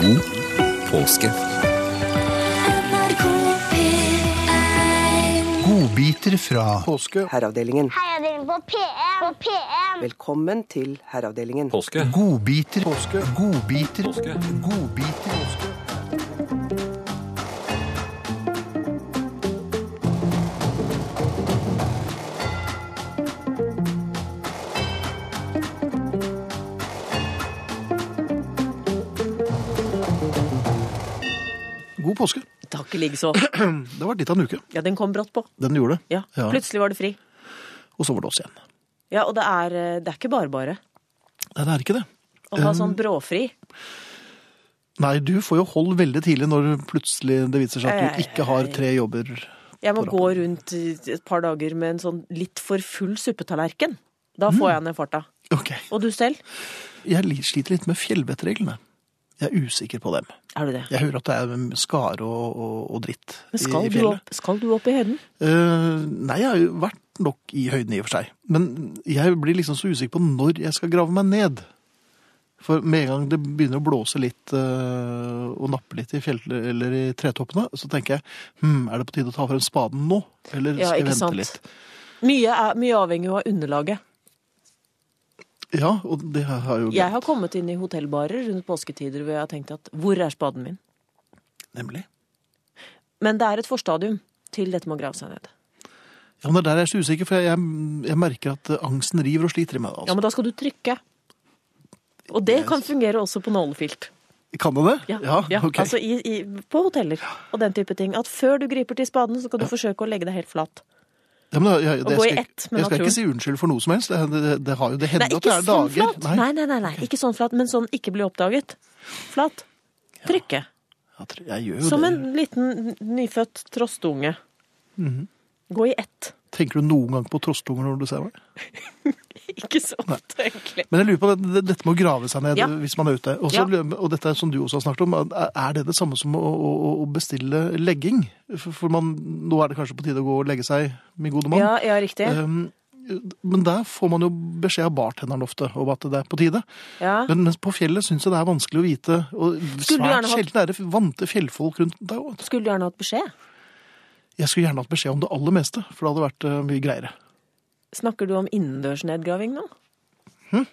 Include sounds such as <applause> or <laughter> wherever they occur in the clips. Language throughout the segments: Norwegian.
god påske. Godbiter fra Herreavdelingen. Herreavdelingen på PM. På PM. Velkommen til Herreavdelingen. Påske? Godbiter Godbiter Påske. Godbiter God påske. Takk likeså. Det har vært litt av en uke. Ja, den kom brått på. Den gjorde det. Ja. Ja. Plutselig var det fri. Og så var det oss igjen. Ja, og det er, eh, det er ikke bare bare Nei, det er ikke det. å Um, ha sånn bråfri. Nei, du får jo hold veldig tidlig når plutselig det viser seg at Ei, du ikke har tre jobber. Jeg må gå rundt i et par dager med en sånn litt for full suppetallerken. Da Mm. får jeg ned farta. Ok. Og du selv? Jeg li- sliter litt med fjellvettreglene. Jeg er usikker på dem. Er du det? Jeg hører at det er skare og, og, og dritt Men skal, i, i du fjellet. opp, skal du opp i høyden? Eh, nei, jeg har jo vært nok i høyden i og for seg. Men jeg blir liksom så usikker på når jeg skal grave meg ned. For med en gang det begynner å blåse litt eh, og nappe litt i fjell, eller i tretoppene, så tenker jeg hm, er det på tide å ta frem spaden nå? Eller Ja, skal jeg ikke vente sant? litt? Mye, er, mye avhengig av underlaget. Ja, og det har jeg jo Jeg har kommet inn i hotellbarer rundt påsketider hvor jeg har tenkt at hvor er spaden min? nemlig. Men det er et forstadium til dette med å grave seg ned. Ja, men det er der jeg er så usikker, for jeg, jeg, jeg merker at eh, angsten river og sliter i meg. Ja, Altså. men da skal du trykke. Og det kan fungere også på nålefilt. Kan det det? Ja, ja, ja, ok. altså i, i, på hoteller og den type ting. At før du griper til spaden, så skal du forsøke å legge deg helt flat. Ja, men jeg, jeg, Å jeg gå skal, i ikke- ett med jeg skal naturen. ikke si unnskyld for noe som helst. Det, det, det har jo det Nei, hender at det ikke er sånn dager. flat. Nei, nei, nei, nei. Ikke sånn flat, men sånn ikke bli oppdaget. Flat. Trykke. Jeg, tror- jeg gjør jo Som det. en liten nyfødt trostunge. Mhm. Gå i ett. <laughs> Tenker du noen gang på trostunger når du ser meg? Ikke så ofte, egentlig. Men jeg lurer på det, det, dette med å grave seg ned Ja. hvis man er ute. Og så Ja. lurer jeg- og dette er som du også har snakket om, er er det det samme som å, å, å bestille legging? For, for man, nå er det kanskje på tide å gå og legge seg, min gode mann. Ja, ja, riktig. Um, men der får man jo beskjed av bartenderen ofte om at det er på tide. Ja. Men mens på fjellet syns jeg det er vanskelig å vite. Og du gjerne svært hatt- sjelden er det vante fjellfolk rundt deg òg. Skulle du gjerne hatt beskjed. Jeg skulle gjerne hatt beskjed om det aller meste, for det hadde vært eh, mye greiere. Snakker du om innendørsnedgraving nå?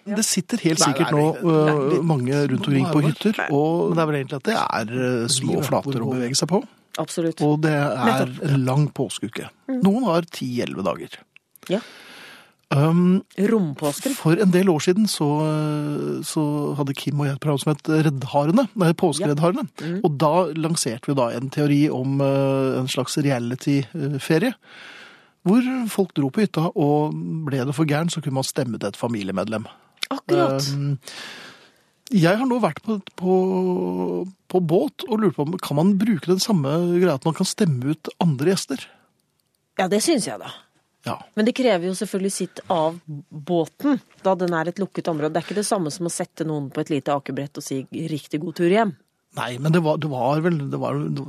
Det sitter helt Nei, det sikkert er nå vel- det er øh, litt- mange rundt omkring på Nei. hytter, og det er vel egentlig at det er øh, små Livet, flater å hvor- bevege seg på. Absolutt. Og det er en lang påskeuke. Mm. Noen har ti-elleve dager. Ja. Um, Rompåsken. for en del år siden så, øh, så hadde Kim og jeg et program som het Reddharene, nei, Påskereddharene. Og da lanserte vi da en teori om øh, en slags reality-ferie. Hvor folk dro på hytta, og ble det for gæren, så kunne man stemme til et familiemedlem. Akkurat. Um, jeg har nå vært på, på, på båt og lurt på om kan man bruke den samme greia at man kan stemme ut andre gjester. Ja, det syns jeg, da. Ja. Men det krever jo selvfølgelig sitt av båten, da den er et lukket område. Det er ikke det samme som å sette noen på et lite akebrett og si 'riktig god tur hjem'. Nei, men det var, det var vel det var, det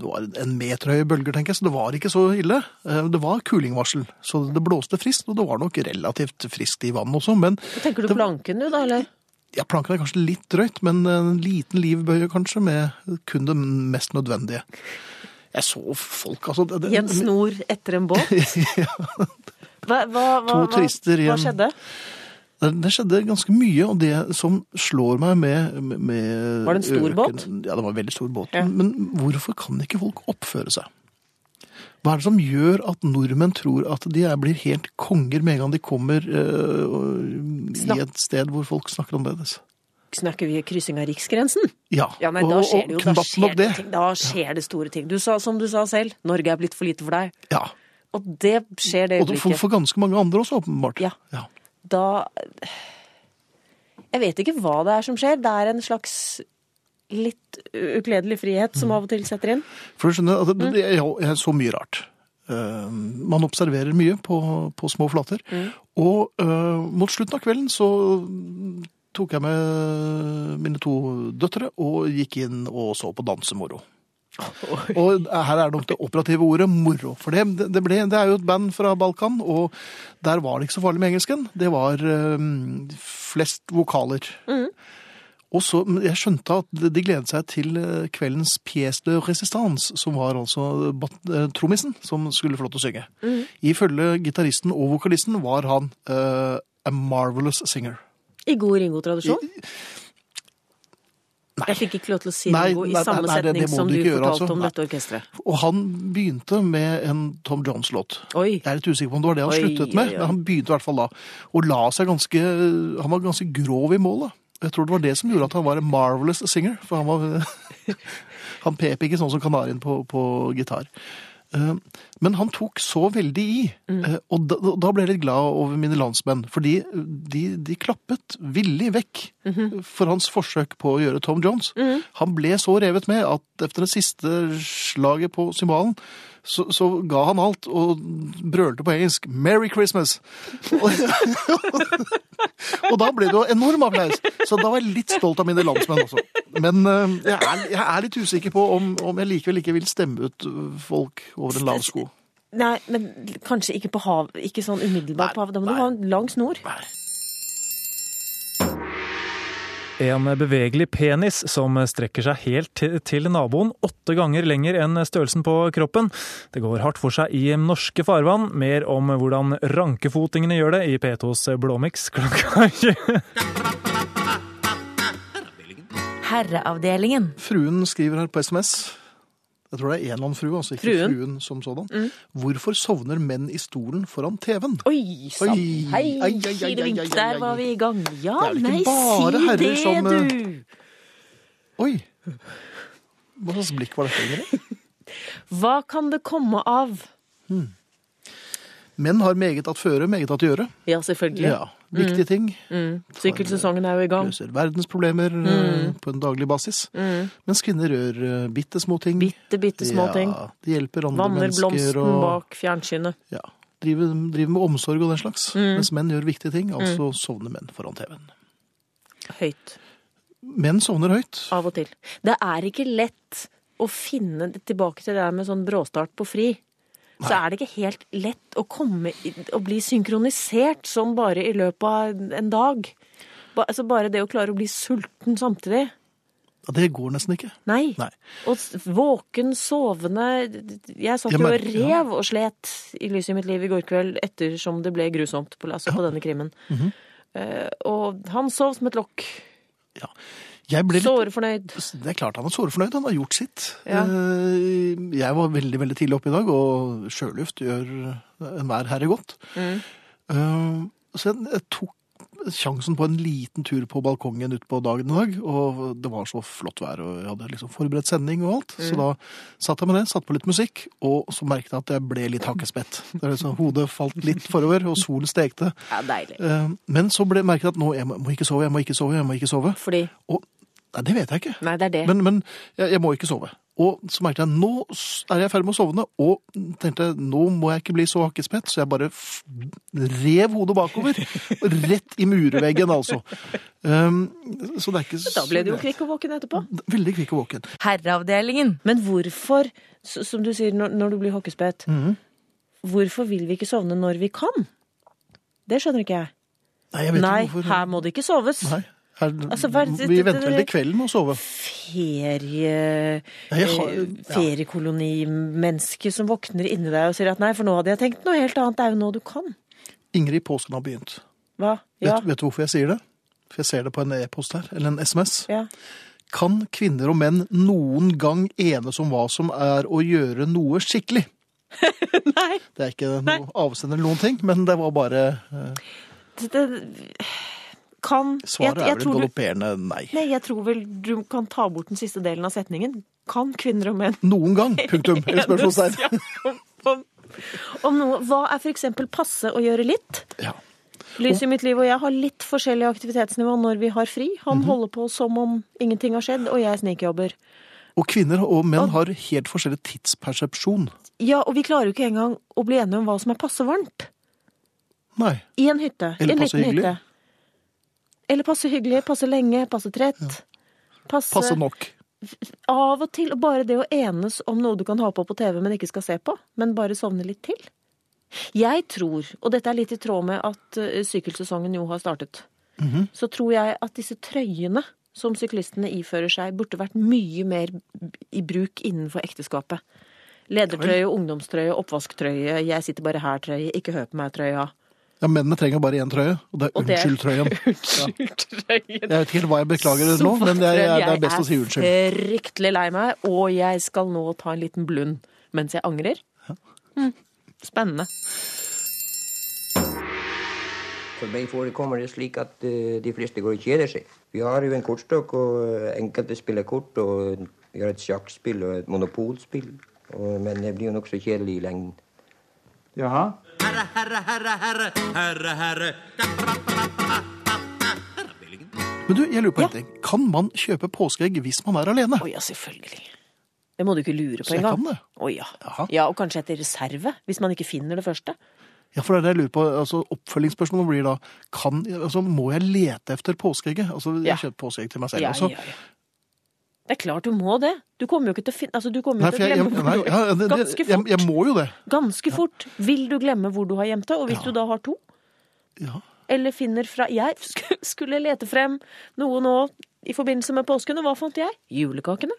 var en meter høye bølger, tenker jeg, så det var ikke så ille. Eh, Det var kulingvarsel, så det blåste friskt, og det var nok relativt friskt i vannet også. Men Tenker du Det- planken du, da, eller? ja, planken er kanskje litt drøyt, men en liten livbøye kanskje, med kun det mest nødvendige. Jeg så folk, altså. det- det- I en snor etter en <laughs> båt? Hva, hva, hva, To turister i hva, hva en- skjedde? Det, det skjedde ganske mye, og det som slår meg med, med Var det en stor øken- båt? Ja, det var en veldig stor båt. Ja. Men hvorfor kan ikke folk oppføre seg? Hva er det som gjør at nordmenn tror at de er, blir helt konger med en gang de kommer eh, og- Snakk- i et sted hvor folk snakker annerledes? Snakker vi kryssing av riksgrensen? Ja, Ja, nei, da og- skjer det jo og da knapt nok skjer det, det. ting. da skjer det store ting. Du sa, som du sa selv, Norge er blitt for lite for deg. Ja, Og det skjer det og det- for, øyeblikket. for ganske mange andre også, åpenbart. Ja. ja. Da Jeg vet ikke hva det er som skjer. Det er en slags litt ukledelig frihet som av og til setter inn. For du skjønner, altså, at det, det er jo- er så mye rart. Eh, man observerer mye på, på små flater. Og eh, mot slutten av kvelden så tok jeg med mine to døtre og gikk inn og så på dansemoro. Og her er nok det operative ordet moro. For det, det, ble, det er jo et band fra Balkan, og der var det ikke så farlig med engelsken. Det var eh, flest vokaler. Og så, men Jeg skjønte at de gledet seg til eh, kveldens pièce de résistance, som var altså bat, eh, trommisen som skulle få lov til å synge. Mhm. Ifølge gitaristen og vokalisten var han eh, a marvelous singer. I god Ringo-tradisjon? Jeg fikk ikke lov til å si Nei, Ringo i nei, nei, samme nei, det- det setning må som du du ikke gjøre, fortalte altså. om Nei. dette orkesteret. Og han begynte med en Tom Jones-låt. Oi. Jeg er litt usikker på om det var det han Oi, sluttet med, oi, oi. men han begynte i hvert fall da. Og la seg ganske, eh, han var ganske grov i målet. Jeg tror det var det som gjorde at han var en marvelous singer, for han var, <laughs> han pep ikke sånn som kanarien på, på gitar. Eh, Men han tok så veldig i, Eh, og da, da ble jeg litt glad over mine landsmenn, fordi de, de klappet villig vekk for hans forsøk på å gjøre Tom Jones. Han ble så revet med at efter det siste slaget på cymbalen, så, så ga han alt og brølte på engelsk 'Merry Christmas'. <laughs> Og, og da ble det jo enorm applaus, så da var jeg litt stolt av mine landsmenn også. Men eh, jeg er, jeg er litt usikker på om, om jeg likevel ikke vil stemme ut eh, folk over en lav sko. Nei, men kanskje ikke på hav, ikke sånn umiddelbart på havet. Da må du ha en lang snor. En bevegelig penis som strekker seg helt til, til naboen, åtte ganger lenger enn størrelsen på kroppen. Det går hardt for seg i norske farvann. Mer om hvordan rankefotingene gjør det i P2s Blåmix klokka 20. Herreavdelingen. Fruen skriver her på SMS. Jeg tror det er en eller annen frue, altså ikke Fruen. Mm. fruen, som sådan. Hvorfor sovner menn i stolen foran TV-en? Oi sann! Oi. Hei, Ai, ai, ai, kile ai, vink, ai, ai, der ai. var vi i gang. Det Ja, er vel ikke nei, bare si herrer det, som, eh, du! Oi! Hva slags blikk var dette? egentlig? Hva kan det komme av? Menn har meget at føre, meget at gjøre. Ja, Mm. selvfølgelig. Ja, Viktige ting. Sykkelsesongen er jo i gang. Løser verdensproblemer Mm. eh, på en daglig basis. Mens kvinner gjør uh, bitte små ting. Bitte, bitte små ting. Ja, de hjelper andre Vanner mennesker. blomsten Og, bak fjernsynet. Ja, driver, driver med omsorg og den slags. Mm. Mens menn gjør viktige ting. Altså sovner menn foran TV-en. Høyt. Menn sovner høyt. Av og til. Det er ikke lett å finne tilbake til det der med sånn bråstart på fri. Så er det ikke helt lett å komme i, å bli synkronisert sånn bare i løpet av en dag. Ba, altså bare det å klare å bli sulten samtidig. Ja, det går nesten ikke. Nei. Nei. Og s- våken, sovende Jeg satt Jeg jo og merker- ja. rev og slet i lyset i mitt liv i går kveld ettersom det ble grusomt på, altså på denne krimmen. Mhm. Eh, og han sov som et lokk. Ja. Jeg ble litt... Sårefornøyd. Det er klart han er sårefornøyd. Han har gjort sitt. Ja. Eh, Jeg var veldig veldig tidlig oppe i dag, og sjøluft gjør enhver herre godt. Mm. Eh, Så jeg, jeg tok sjansen på en liten tur på balkongen utpå dagen i dag. Og det var så flott vær, og jeg hadde liksom forberedt sending og alt. Mm. Så da satt jeg med det, satte på litt musikk, og så merket jeg at jeg ble litt hakkespett. Det er liksom, hodet falt litt forover, og solen stekte. Ja, deilig. Eh, Men så ble, merket jeg at nå, jeg må må ikke sove, jeg må ikke sove, jeg må ikke sove. Fordi Og Nei, det vet jeg ikke. Nei, det er det. Men, men jeg, jeg må ikke sove. Og så merket jeg nå s- er jeg i ferd med å sovne, og tenkte nå må jeg ikke bli så hakkespett, så jeg bare f rev hodet bakover. og Rett i murveggen, altså. Um, så det er ikke Da ble du jo så- kvikk og våken etterpå. Veldig kvikk og våken. Mhm. Herreavdelingen. Men hvorfor, s- som du sier når, når du blir hockeyspett, Mhm. hvorfor vil vi ikke sovne når vi kan? Det skjønner ikke jeg. Nei, jeg vet Nei, ikke hvorfor. her må det ikke soves. Nei. Her, Altså, hva er det- vi det- venter vel det- til kvelden med å sove. ferie, Nei, jeg har- eh, ja. feriekolonimenneske som våkner inni deg og sier at nei, for nå hadde jeg tenkt noe helt annet. Det er jo nå du kan. Ingrid, påsken har begynt. Hva? Ja. Vet, vet du hvorfor jeg sier det? For jeg ser det på en e-post her, eller en SMS. ja. Kan kvinner og menn noen gang enes om hva som er å gjøre noe skikkelig? Nei, Det er ikke noe avsender eller noen ting, men det var bare eh, det, det kan Svaret er vel et tror du- galopperende nei. Nei, jeg tror vel du kan ta bort den siste delen av setningen. Kan kvinner og menn Noen <laughs> gang, punktum. Eller spørsmålstegn. Ja, om- Om noe. Hva er f.eks. passe å gjøre litt? Ja. Lys i mitt liv og jeg har litt forskjellig aktivitetsnivå når vi har fri. Han Mhm. holder på som om ingenting har skjedd, og jeg snikjobber. Og kvinner og menn har helt forskjellig tidspersepsjon. Ja, og vi klarer jo ikke engang å bli enige om hva som er passe varmt. Nei. I en hytte. Eller en passe liten hyggelig. hytte. Eller passe hyggelig, passe lenge, passe trett. Passe, Passe nok. av og til. Og bare det å enes om noe du kan ha på på TV, men ikke skal se på. Men bare sovne litt til. Jeg tror, og dette er litt i tråd med at eh, sykkelsesongen jo har startet, så tror jeg at disse trøyene som syklistene ifører seg, burde vært mye mer i bruk innenfor ekteskapet. Ledertrøye, ungdomstrøye, oppvasktrøye, jeg sitter bare her-trøye, ikke hør på meg-trøya. Ja, Mennene trenger bare én trøye, og det er Og det er- unnskyld-trøyen. Unnskyld-trøyen. Jeg vet ikke helt hva jeg beklager <laughs> nå, men det er, det er best å si unnskyld. Jeg er fryktelig lei meg, og jeg skal nå ta en liten blund mens jeg angrer. Mm. Spennende. For meg forekommer det slik at eh, de fleste går og kjeder seg. Vi har jo en kortstokk, og eh, enkelte spiller kort. og Vi har et sjakkspill og et monopolspill. Og, men det blir jo nokså kjedelig i lengden. Men du, jeg lurer på en ting. Kan man kjøpe påskeegg hvis man er alene? Å ja, selvfølgelig. Det må du ikke lure på Så jeg engang. kan det? Å ja. Jaha. ja, og kanskje etter reserve, hvis man ikke finner det første. Ja, for det er det jeg lurer på. Altså, Oppfølgingsspørsmålet blir da kan, altså, Må jeg lete etter påskeegget? Altså, Ja. Jeg kjøper påskeegg til meg selv Ja, også. ja, ja. Det er klart du må det. Du kommer jo ikke til å finne altså, Du kommer Nei, jo for til å jeg, jeg, glemme nei, hvor du ja, det, det, Ganske jeg, fort. jeg må jo det. Ganske fort vil du glemme hvor du har gjemt det. Og hvis du da har to, Ja. eller finner fra Jeg <laughs> sk- skulle lete frem noe nå i forbindelse med påsken, og hva fant jeg? Julekakene.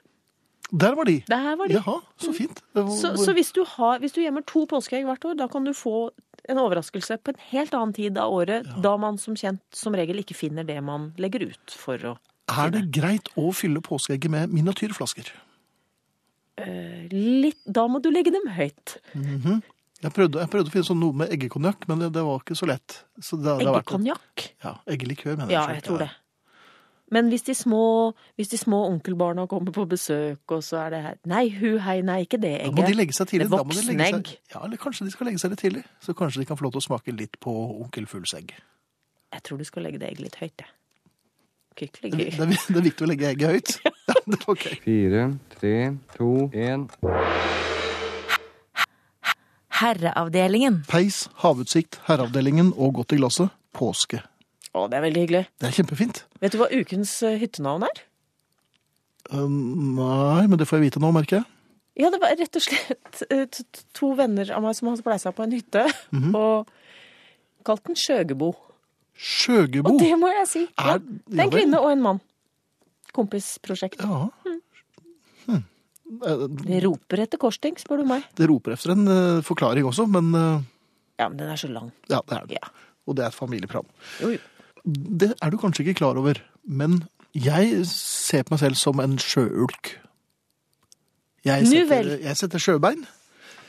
Der var de. Der var de. Mm. Jaha, så fint. Det var- Så, så hvis, du har, hvis du gjemmer to påskeegg hvert år, da kan du få en overraskelse på en helt annen tid av året, da man som kjent som regel ikke finner det man legger ut for å Er det greit å fylle påskeegget med miniatyrflasker? eh, Litt, Da må du legge dem høyt. Jeg prøvde, jeg prøvde å finne sånn noe med eggekonjakk, men det, det var ikke så lett. Så det, det har vært- Eggekonjakk. Ja, Eggelikør, mener Ja, jeg tror det. Men hvis de små, hvis de små onkelbarna kommer på besøk, og så er det her Nei, hu, hei, nei, ikke det Da egget. må de legge seg tidlig. Det da må de legge seg- voksenegg. Ja, eller kanskje de skal legge seg litt tidlig. Så kanskje de kan få lov til å smake litt på onkel Fugls egg. Jeg tror du skal legge det egget litt høyt, jeg. Kan ikke Det, legge- det, er- det er viktig å legge egget <laughs> høyt. <laughs> Ja, det er ok. Fire, tre, to, én. Herreavdelingen. Peis, havutsikt, herreavdelingen og godt i glasset. Påske. Å, det er veldig hyggelig. Det er kjempefint. Vet du hva ukens eh, hyttenavn er? Eh, nei, men det får jeg vite nå, merker jeg. Ja, det var rett og slett eh, t- t- to venner av meg som hadde spleisa på en hytte, Mhm. og kalt den Skjøgebo. Skjøgebo. Og det må jeg si. Ja, Er- det er ja en vel. kvinne og en mann. Kompisprosjekt. Ja. Hm. Eh, Det roper etter korsting, spør du meg. Det roper efter en eh, forklaring også, men eh, Ja, men den er så lang. ja, det er det. Ja. Og det er et familieprogram. Jo, jo. Det er du kanskje ikke klar over, men jeg ser på meg selv som en sjøulk. Jeg Nu setter, vel. jeg setter sjøbein.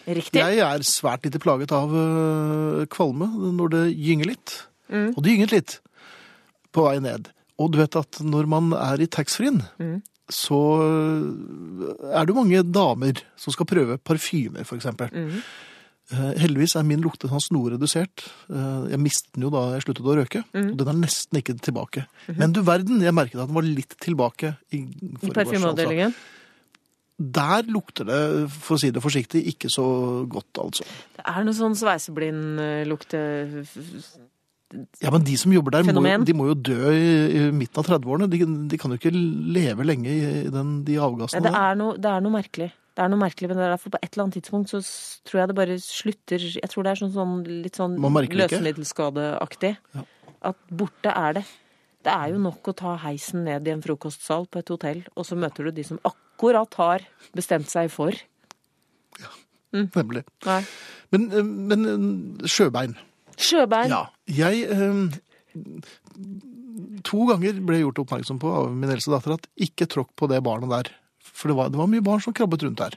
Riktig. Jeg er svært lite plaget av øh, kvalme når det gynger litt. Og det gynget litt på vei ned. Og du vet at når man er i taxfree-en, så øh, er det jo mange damer som skal prøve parfymer, for eksempel. Eh, Heldigvis er min luktesans noe redusert. Eh, Jeg mistet den jo da jeg sluttet å røyke. Og den er nesten ikke tilbake. Men du verden, jeg merket at den var litt tilbake. I, I forgårs, altså. parfymeavdelingen. Der lukter det, for å si det forsiktig, ikke så godt, altså. Det er noe sånn eh, sveiseblindlukte... Ja, men de som jobber der, må, jo- Fenomen. de må jo dø i, i midten av 30-årene. De, de kan jo ikke leve lenge i i den, de Nei, avgassene. det er, noe, det er noe merkelig. Det er noe merkelig, men det er derfor på et eller annet tidspunkt så s- tror jeg det bare slutter Jeg tror det er sånn, sånn litt sånn Man merker det ikke. løsemiddelskadeaktig. At borte er det. Det er jo nok å ta heisen ned i en frokostsal på et hotell, og så møter du de som akkurat har bestemt seg for. der. Nemlig. Nei. Men, eh, men eh, sjøbein. Sjøbein. Ja. Jeg eh, To ganger ble jeg gjort oppmerksom på av min eldste datter at ikke tråkk på det barnet der. For det var, det var mye barn som krabbet rundt der.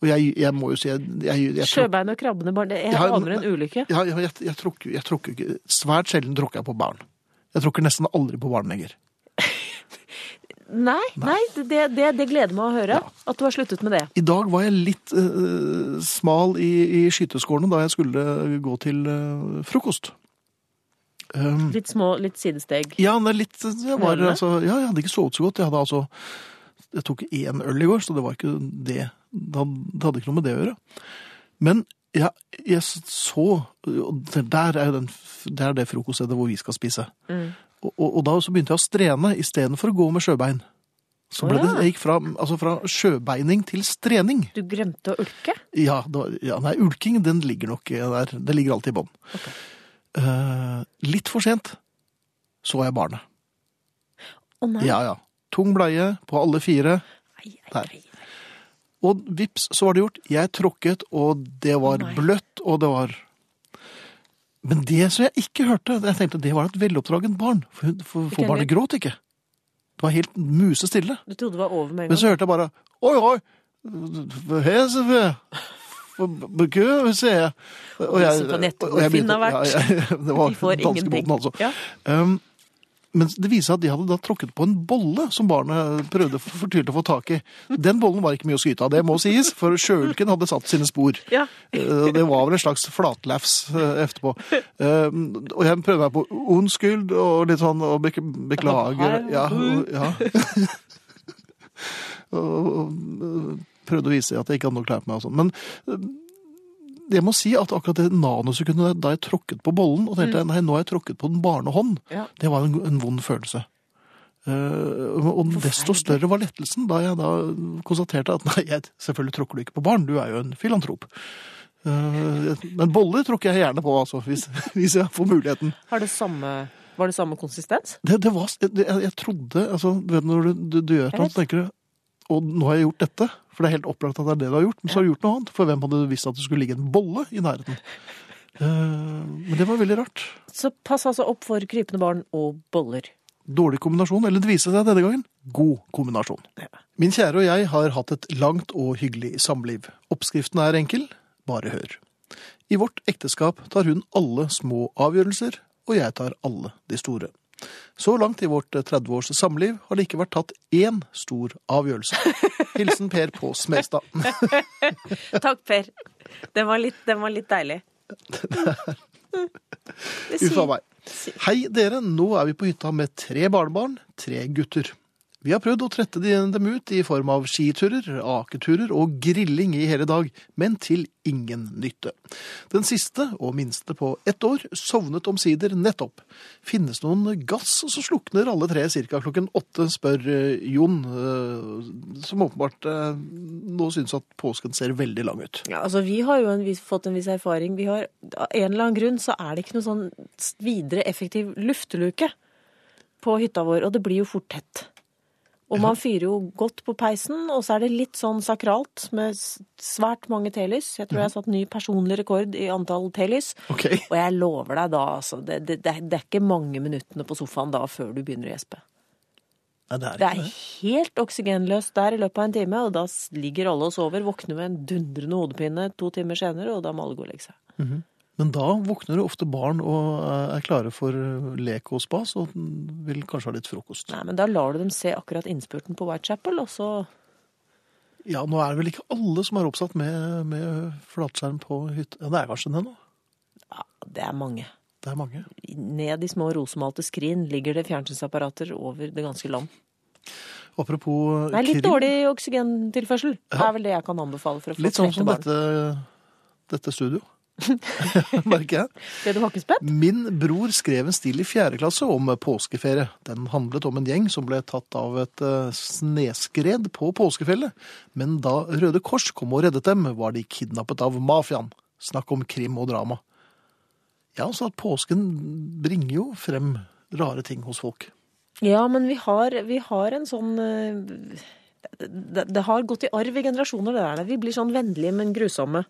Og jeg, jeg må jo si jeg, jeg, jeg, tråkk- Sjøbein og krabbene barn. Det- Jeg Ja, aner en ulykke. Ja, ja, jeg, jeg, tråkker, jeg tråkker ikke Svært sjelden tråkker jeg på barn. Jeg tråkker nesten aldri på barn lenger. Nei, nei det, det, det gleder meg å høre at du har sluttet med det. I dag var jeg litt eh, smal i, i skyteskårene da jeg skulle gå til eh, frokost. Um, Litt små, litt sidesteg. ja, men litt, jeg, var, Ørene? altså, ja, jeg hadde ikke sovet så godt. Jeg, hadde, altså, jeg tok én øl i går, så det var ikke det. Det hadde, det hadde ikke noe med det å gjøre. Men jeg, jeg så og det Der er, jo den, det er det frokoststedet hvor vi skal spise. Mm. Og, og, og da så begynte jeg å strene istedenfor å gå med sjøbein. Så ble Å, ja. det, jeg gikk fra, altså fra sjøbeining til strening. Du glemte å ulke. Ja, det var, ja nei, ulking den ligger nok eh, der. Den ligger alltid i bånn. Eh, litt for sent så jeg barnet. nei. Ja, ja. Tung bleie på alle fire. Ai, ai, Nei. ai. Og vips, så var det gjort. Jeg tråkket, og det var Å, nei. bløtt, og det var Men det som jeg ikke hørte, jeg tenkte det var et veloppdragent barn. For, hun- for, for Ikke barnet heller. gråt ikke. Det var helt musestille. Du trodde det var over med en Men gang. så hørte jeg bare Oi, oi! Hesefø! Bukø, ser jeg. Og Hilsen på nettet, og jeg Finn har begynte- vært. ja, <laughs> ja, det var Vi får danskebåten, ingenting. altså. Ja. Um, men det viser seg at de hadde da tråkket på en bolle som barnet prøvde f- fortvilt å få tak i. Den bollen var ikke mye å skryte av, det må sies, for sjøulken hadde satt sine spor. Ja. Eh, Det var vel en slags flatlefs eh, etterpå. Um, og jeg prøvde meg på unnskyld og litt sånn og bek beklager. Ja, og- ja. <laughs> og, og, eh, prøvde å vise at jeg ikke hadde nok klær på meg og sånn. Men jeg må si at akkurat det nanosekundet da jeg tråkket på bollen, og tenkte nei, nå har jeg tråkket på den barnehånd, Ja. det var en, en vond følelse. Eh, og desto større var lettelsen da jeg da konstaterte at nei, jeg, selvfølgelig tråkker du ikke på barn, du er jo en filantrop. Eh, men boller tråkker jeg gjerne på, altså, hvis, <laughs> hvis jeg får muligheten. Har det samme, var det samme konsistens? Det, det var, det, jeg, jeg trodde, altså, du vet når du, du, du gjør noe, vet. så tenker du, og nå har jeg gjort dette, for det er helt opplagt at det er det du har gjort, men så har du gjort noe annet, for hvem hadde visst at det skulle ligge en bolle i nærheten? Eh, men det var veldig rart. Så pass altså opp for krypende barn og boller. Dårlig kombinasjon, eller det viste seg denne gangen, god kombinasjon. Min kjære og jeg har hatt et langt og hyggelig samliv. Oppskriften er enkel, bare hør. I vårt ekteskap tar hun alle små avgjørelser, og jeg tar alle de store. Så langt i vårt 30 års samliv har det ikke vært tatt én stor avgjørelse. Hilsen Per på Smestad. Takk, Per. Den var litt, den var litt <laughs> deilig. Det Uff a sier- meg. Hei dere, nå er vi på hytta med tre barnebarn, tre gutter. Vi har prøvd å trette de- dem ut i form av skiturer, aketurer og grilling i hele dag, men til ingen nytte. Den siste, og minste på ett år, sovnet omsider nettopp. Finnes noen gass som slukner alle tre ca. klokken åtte, spør eh, Jon, eh, som åpenbart eh, nå syns at påsken ser veldig lang ut. Ja, altså, vi har jo en viss, fått en viss erfaring. Vi har, av en eller annen grunn så er det ikke noe sånn videre effektiv lufteluke på hytta vår, og det blir jo fort tett. Og man fyrer jo godt på peisen, og så er det litt sånn sakralt med s- svært mange telys. Jeg tror jeg har satt ny personlig rekord i antall telys. Ok. Og jeg lover deg da, altså, det, det, det, er- det er ikke mange minuttene på sofaen da før du begynner å gjespe. Nei, det er Det ikke er helt oksygenløst der i løpet av en time, og da ligger alle og sover, våkner med en dundrende hodepine to timer senere, og da må alle gå og legge seg. Men da våkner det ofte barn og eh, er klare for lek og spas, og vil kanskje ha litt frokost. Nei, men da lar du dem se akkurat innspurten på Whitechapel, og så Ja, nå er det vel ikke alle som er oppsatt med, med flatskjerm på hytta. Ja, det er kanskje det nå. Ja, det er mange. Det er mange. Ned i små rosemalte skrin ligger det fjernsynsapparater over det ganske land. Apropos eh, Nei, litt krim. dårlig oksygentilførsel. Det er vel det jeg kan anbefale for å få Litt sånn som barn. dette, dette <laughs> studio. <laughs> Merker jeg. Ble du hakkespett? Min bror skrev en stil i fjerde klasse om påskeferie. Den handlet om en gjeng som ble tatt av et eh, sneskred på påskefjellet. Men da Røde Kors kom og reddet dem, var de kidnappet av mafiaen. Snakk om krim og drama. Ja, så at påsken bringer jo frem rare ting hos folk. Ja, men vi har, vi har en sånn eh, det, det, det har gått i arv i generasjoner, det der. Vi blir sånn vennlige, men grusomme.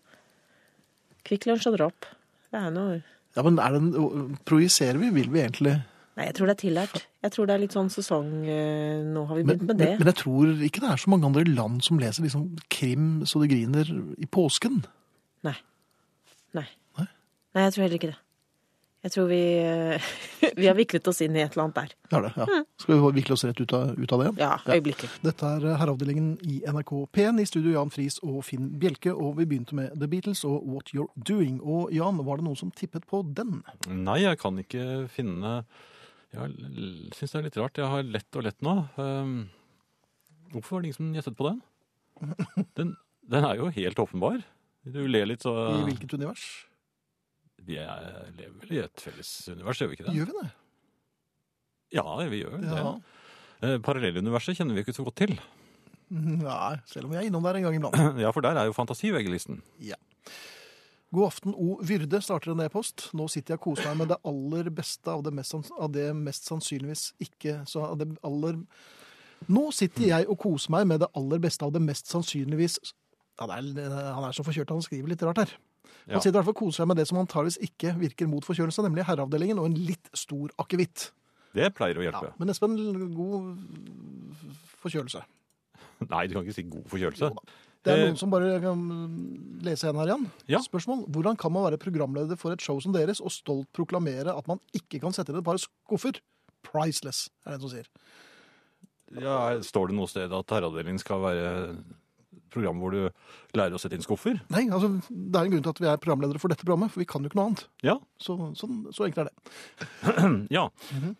Kvikk Lunsj og drap. Det er noe Ja, men er den, projiserer vi? Vil vi egentlig? Nei, jeg tror det er tillært. Jeg tror det er litt sånn sesong eh, Nå har vi Men, begynt med men, det. men jeg tror ikke det er så mange andre land som leser liksom krim så det griner i påsken. Nei. Nei. Nei, jeg tror heller ikke det. Jeg tror vi eh, <laughs> Vi har viklet oss inn i et eller annet der. Ja, det, Mm. ja. Skal vi vikle oss rett ut av, ut av det? Ja, øyeblikket. Dette er eh, Herreavdelingen i NRK P1 i studio Jan Friis og Finn Bjelke. Og vi begynte med The Beatles og What You're Doing. Og Jan, var det noen som tippet på den? Nei, jeg kan ikke finne Jeg syns det er litt rart. Jeg har lett og lett nå. Ehm, hvorfor var det ingen som gjettet på den? den? Den er jo helt åpenbar. Du ler litt, så I hvilket univers? Vi er, lever vel i et felles univers, gjør vi ikke det? Gjør vi det? Ja, vi gjør vel det. Ja. Eh, Parallelluniverset kjenner vi ikke så godt til. Mm, Nei, selv om jeg er innom der en gang iblant. Ja, for der er jo fantasi VG-listen. Ja. God aften, O. Vyrde, starter en e-post. Nå sitter jeg og koser meg med det aller beste av det mest, sanns- av det mest sannsynligvis ikke så av det aller... Nå sitter jeg og koser meg med det aller beste av det mest sannsynligvis ja, det er, Han er så forkjørt, han skriver litt rart her. Ja. Han sitter i hvert fall og koser seg med det som antageligvis ikke virker mot forkjølelse, nemlig herreavdelingen og en litt stor akevitt. Det pleier å Ja, hjelpe. men Espen, god forkjølelse. <laughs> Nei, du kan ikke si god forkjølelse. Det er Eh, noen som bare kan mm, lese igjen her igjen. Ja. Spørsmål. Hvordan kan man være programleder for et show som deres og stolt proklamere at man ikke kan sette inn et par skuffer? Priceless, er det en som sier. Ja, står det noe sted at herreavdelingen skal være et program hvor du lærer å sette inn skuffer? Nei, altså, det er en grunn til at vi er programledere for dette programmet, for vi kan jo ikke noe annet. Ja. Så, sånn, så enkelt er det. ja. Mhm.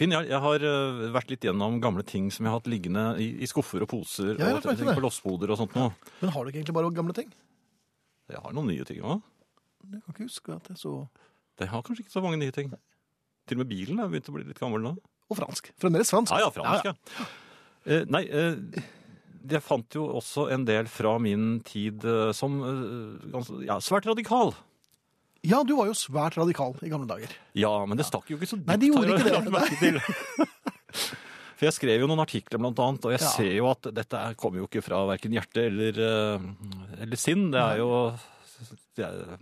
Finn, jeg, jeg har øh, vært litt gjennom gamle ting som jeg har hatt liggende i, i skuffer og poser Ja, og jeg har ting merket det. på lossboder og sånt noe. Men har du ikke egentlig bare gamle ting? Jeg har noen nye ting òg. Jeg kan ikke huske at jeg så... Jeg har kanskje ikke så mange nye ting. Til og med bilen er begynt å bli litt gammel nå. Og fransk. Fremdeles fransk. Ja, ja, fransk, ja. Eh, nei, eh, jeg fant jo også en del fra min tid eh, som eh, ganske, ja, svært radikal. Ja, du var jo svært radikal i gamle dager. Ja, men det stakk jo ikke så dypt. Nei, det gjorde har jeg ikke lagt det. merke til. <laughs> For jeg skrev jo noen artikler, blant annet, og jeg Ja. ser jo at dette er- kommer jo ikke fra verken hjerte eller, eh, eller sinn. Det er jo det er,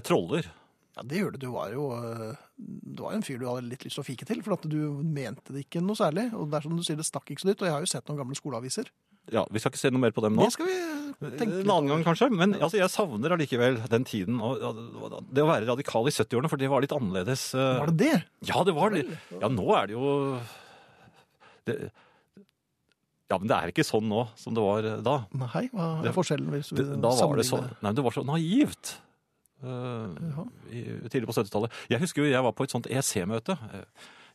Jeg troller. Ja, det gjør det. Du var jo øh, du var jo en fyr du hadde litt lyst til å fike til, for at du mente det ikke noe særlig. Og det er som du sier, det stakk ikke så dypt. Og jeg har jo sett noen gamle skoleaviser. Ja, Vi skal ikke se noe mer på dem nå. Eh, Det skal vi tenke En annen gang kanskje, men altså, jeg savner allikevel den tiden. Og, ja, det å være radikal i 70-årene, for det var litt annerledes. eh, Var det det? Ja, det var litt Ja, nå er det jo det... Ja, men det er ikke sånn nå som det var eh, da. Nei, hva er Det- forskjellen hvis vi Det, da var det så sammenligner? Nei, men det var så naivt. eh, i, tidlig på 70-tallet. Jeg husker jo jeg var på et sånt EC-møte. Eh,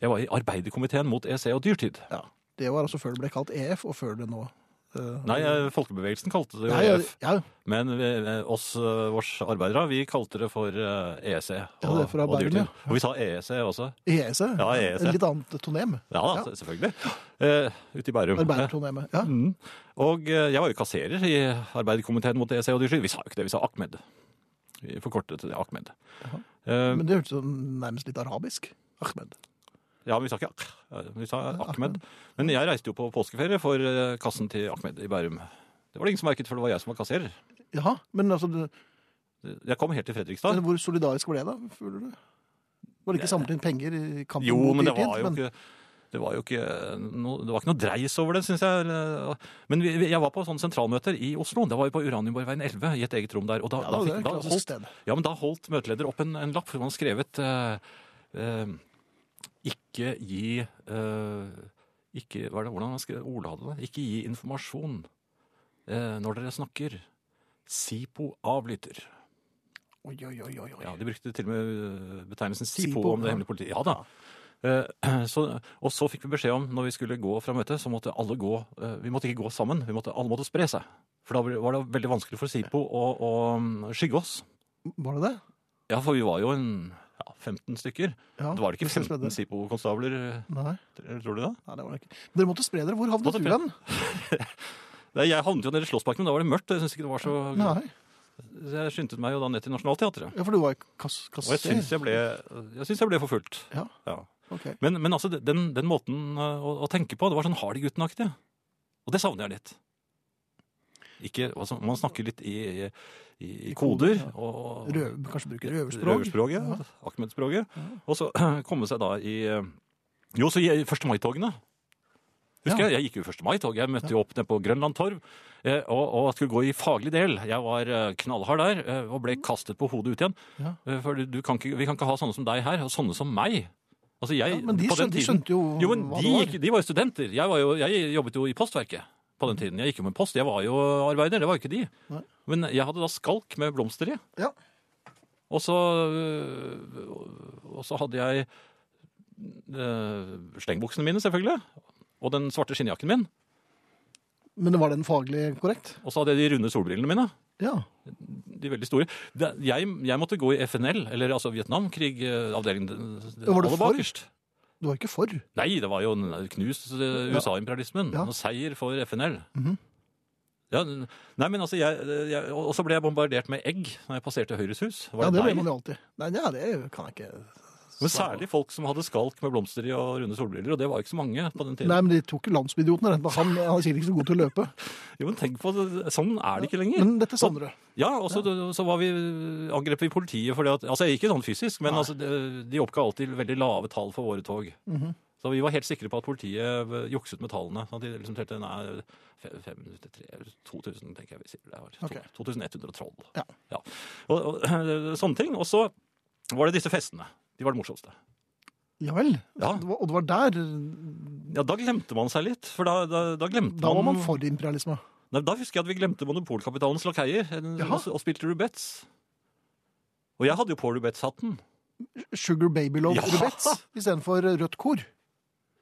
Jeg var i arbeiderkomiteen mot EC og dyrtid. Ja. Det var altså før det ble kalt EF, og før det nå øh, Nei, eh, folkebevegelsen kalte det jo E Nei, ja, EF. ja, Men vi, eh, oss, eh, vårs arbeidere, vi kalte det for eh, EC og, Ja, det er for og dyrtid. arbeiderne, ja. Og vi sa EEC også. EEC. Ja, E EEC. E. Litt annet tonem. Ja, da, se- selvfølgelig. Eh, ute i Bærum. Arbeidertonemet. Ja. Mm. Og eh, jeg var jo kasserer i arbeiderkomiteen mot EC og de skyld. Vi sa jo ikke det, vi sa Ahmed. Vi forkortet det Ahmed. Eh, Men det hørtes sånn nærmest litt arabisk. Ahmed. ja, men vi sa ikke Ak, eh, vi sa Ahmed. Men jeg reiste jo på påskeferie for eh, kassen til Ahmed i Bærum. Det var det ingen som merket, for det var jeg som var kasserer. Jaha, men altså, det- Jeg kom helt til Fredrikstad. hvor solidarisk var det da, føler du? Var det ikke samlet inn penger i kampen Jo, mot men det dyrtid, var jo men- ikke det var jo ikke noe, det var ikke noe dreis over det, syns jeg. Men vi, vi- jeg var på sånne sentralmøter i Oslo. Da var vi på Uranienborgveien 11 i et eget rom der. Og da, da, Ja, det er fikk, et da, klassisk holdt, sted. ja, men da holdt møteleder opp en, en lapp hvor han skrevet eh, eh, Ikke gi eh, ikke, hva er det, Hvordan han skrev ordladet det? Ikke gi informasjon eh, når dere snakker. SIPO avlytter. Oi, oi, oi, oi, oi. Ja, De brukte til og med øh, betegnelsen SIPO, SIPO, om det ja. hemmelige politiet. Ja da. Eh, <clears throat> Så, og så fikk vi beskjed om når vi skulle gå fra møtet, så måtte alle gå eh, Vi måtte ikke gå sammen, vi måtte, alle måtte spre seg. For da var det veldig vanskelig for SIPO å, å mm, skygge oss. Var det det? Ja, for vi var jo en ja, 15 stykker. Ja, det var det ikke hvis jeg 15 spredde det. SIPO-konstabler, eh, Nei, tror du det? nei det var det ikke. Dere måtte spre dere. Hvor havnet Måtte du spre- hen? Nei, Jeg havnet jo nede i Slåssparken, men da var det mørkt. og Jeg synes ikke det var så... Nei, Så jeg skyndte meg jo da ned til Nationaltheatret. ja, for du var kass, Og jeg syns kasser. jeg ble, jeg, synes jeg ble forfulgt. Ja, Ja. ok. Men, men altså, den, den måten eh, å, å tenke på, det var sånn Hardy-gutten-aktig. Og det savner jeg litt. Ikke, altså, man snakker litt i, i, i, I koder, koder. ja. Og, Røv, kanskje bruke røverspråk? Røverspråket. Ja. Ahmed-språket. Og så <clears throat> komme seg da i eh, Jo, så i 1. mai-togene. Husker Ja. jeg, jeg gikk jo i 1. mai-tog. Jeg møtte jo opp nede på Grønland Torv eh, og, og skulle gå i faglig del. Jeg var eh, knallhard der eh, og ble kastet på hodet ut igjen. Mm. Ja. Eh, For du, du kan ikke, vi kan ikke ha sånne som deg her, og sånne som meg. Altså jeg, Ja, men de på den skjønte- de tiden- skjønte jo jo men hva de, det var. gikk, de var jo studenter. Jeg, var jo, jeg jobbet jo i Postverket på den tiden. Jeg gikk jo med post. Jeg var jo eh, arbeider, det var jo ikke de. Mm. Nei. Men jeg hadde da skalk med blomster i. Ja. Og så, øh, og så hadde jeg øh, slengbuksene mine, selvfølgelig. Og den svarte skinnjakken min. Men var den faglig korrekt? Og så hadde jeg de runde solbrillene mine. Ja. De veldig store. Det- Jeg, jeg måtte gå i FNL, eller altså Vietnamkrig-avdelingen. Var du for? Du var ikke for? Nei, det var jo en knust eh, øh, USA-imperialismen. Ja. og Seier for FNL. Ja, n- nei, men altså, jeg, jeg, Og så ble jeg bombardert med egg når jeg passerte Høyres hus. Var Ja, det det blir deg? man jo alltid. Nei, ja, det kan jeg ikke Men særlig folk som hadde skalk med blomster i og runde solbriller, og det var jo ikke så mange på den tiden. Nei, men de tok jo landsbyidioten. rett og slett. Han, han er sikkert ikke så god til å løpe. Jo, men tenk på det, Sånn er det ikke lenger. Men dette savner du. Ja, og så, så var vi, angrep vi politiet fordi at Altså, ikke sånn fysisk, men altså, de de oppga alltid veldig lave tall for våre tog. Mhm. Så vi var helt sikre på at politiet eh, jukset med tallene. Sånn at de liksom telte nei, fem- fem- tre- 2000, tenker jeg vi sier det var. To- Ok. 2112. Ja. Og, og <clears throat> sånne ting. Og så var det disse festene. De var det morsomste. Ja vel. Ja. Det var- Og det var der Ja, da glemte man seg litt. For da, da, da glemte Da var man for imperialisme. Nei, da husker jeg at vi glemte monopolkapitalens lakeier en- Jaha. og, og spilte rubets. Og jeg hadde jo på rubets-hatten. Sugar Baby Love Ja. Rubets istedenfor rødt kor.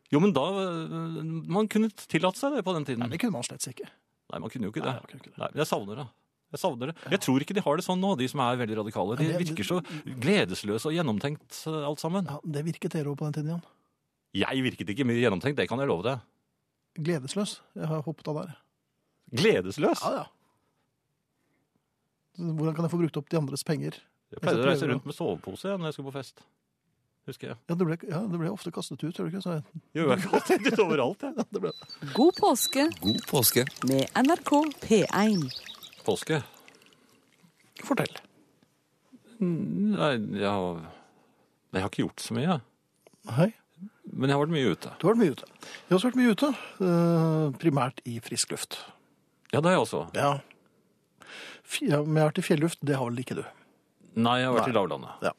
Jo, men da øh, Man kunne tillate seg det på den tiden. Nei, det kunne man slett ikke. Nei, man kunne jo ikke det. Nei, Nei, man kunne ikke det. men jeg savner det. Jeg savner det. Jeg tror ikke de har det sånn nå, de som er veldig radikale. De Ja, det- virker så gledesløse og gjennomtenkt øh, alt sammen. Ja, Det virket dere òg på den tiden, Jan. Jeg virket ikke mye gjennomtenkt, det kan jeg love deg. Gledesløs. Jeg har hoppet av der. Gledesløs? Ja, ja. Hvordan kan jeg få brukt opp de andres penger? Jeg pleide så å reise prøver du. rundt med sovepose jeg, når jeg skulle på fest. Husker jeg. Ja, det ble, ja, det ble ofte kastet ut, tror du ikke? Så <laughs> jeg, Jo, jeg har alltid litt overalt, jeg. det ble, God påske God påske. med NRK P1. Påske. fortell. Nei, jeg har, jeg har ikke gjort så mye. Hei. Men jeg har vært mye ute. Du har vært mye ute. Jeg har også vært mye ute. eh, Primært i frisk luft. Ja, det har jeg også. Ja. F- ja. Men jeg har vært i fjelluft, det har vel ikke du? Nei, jeg har vært i lavlandet.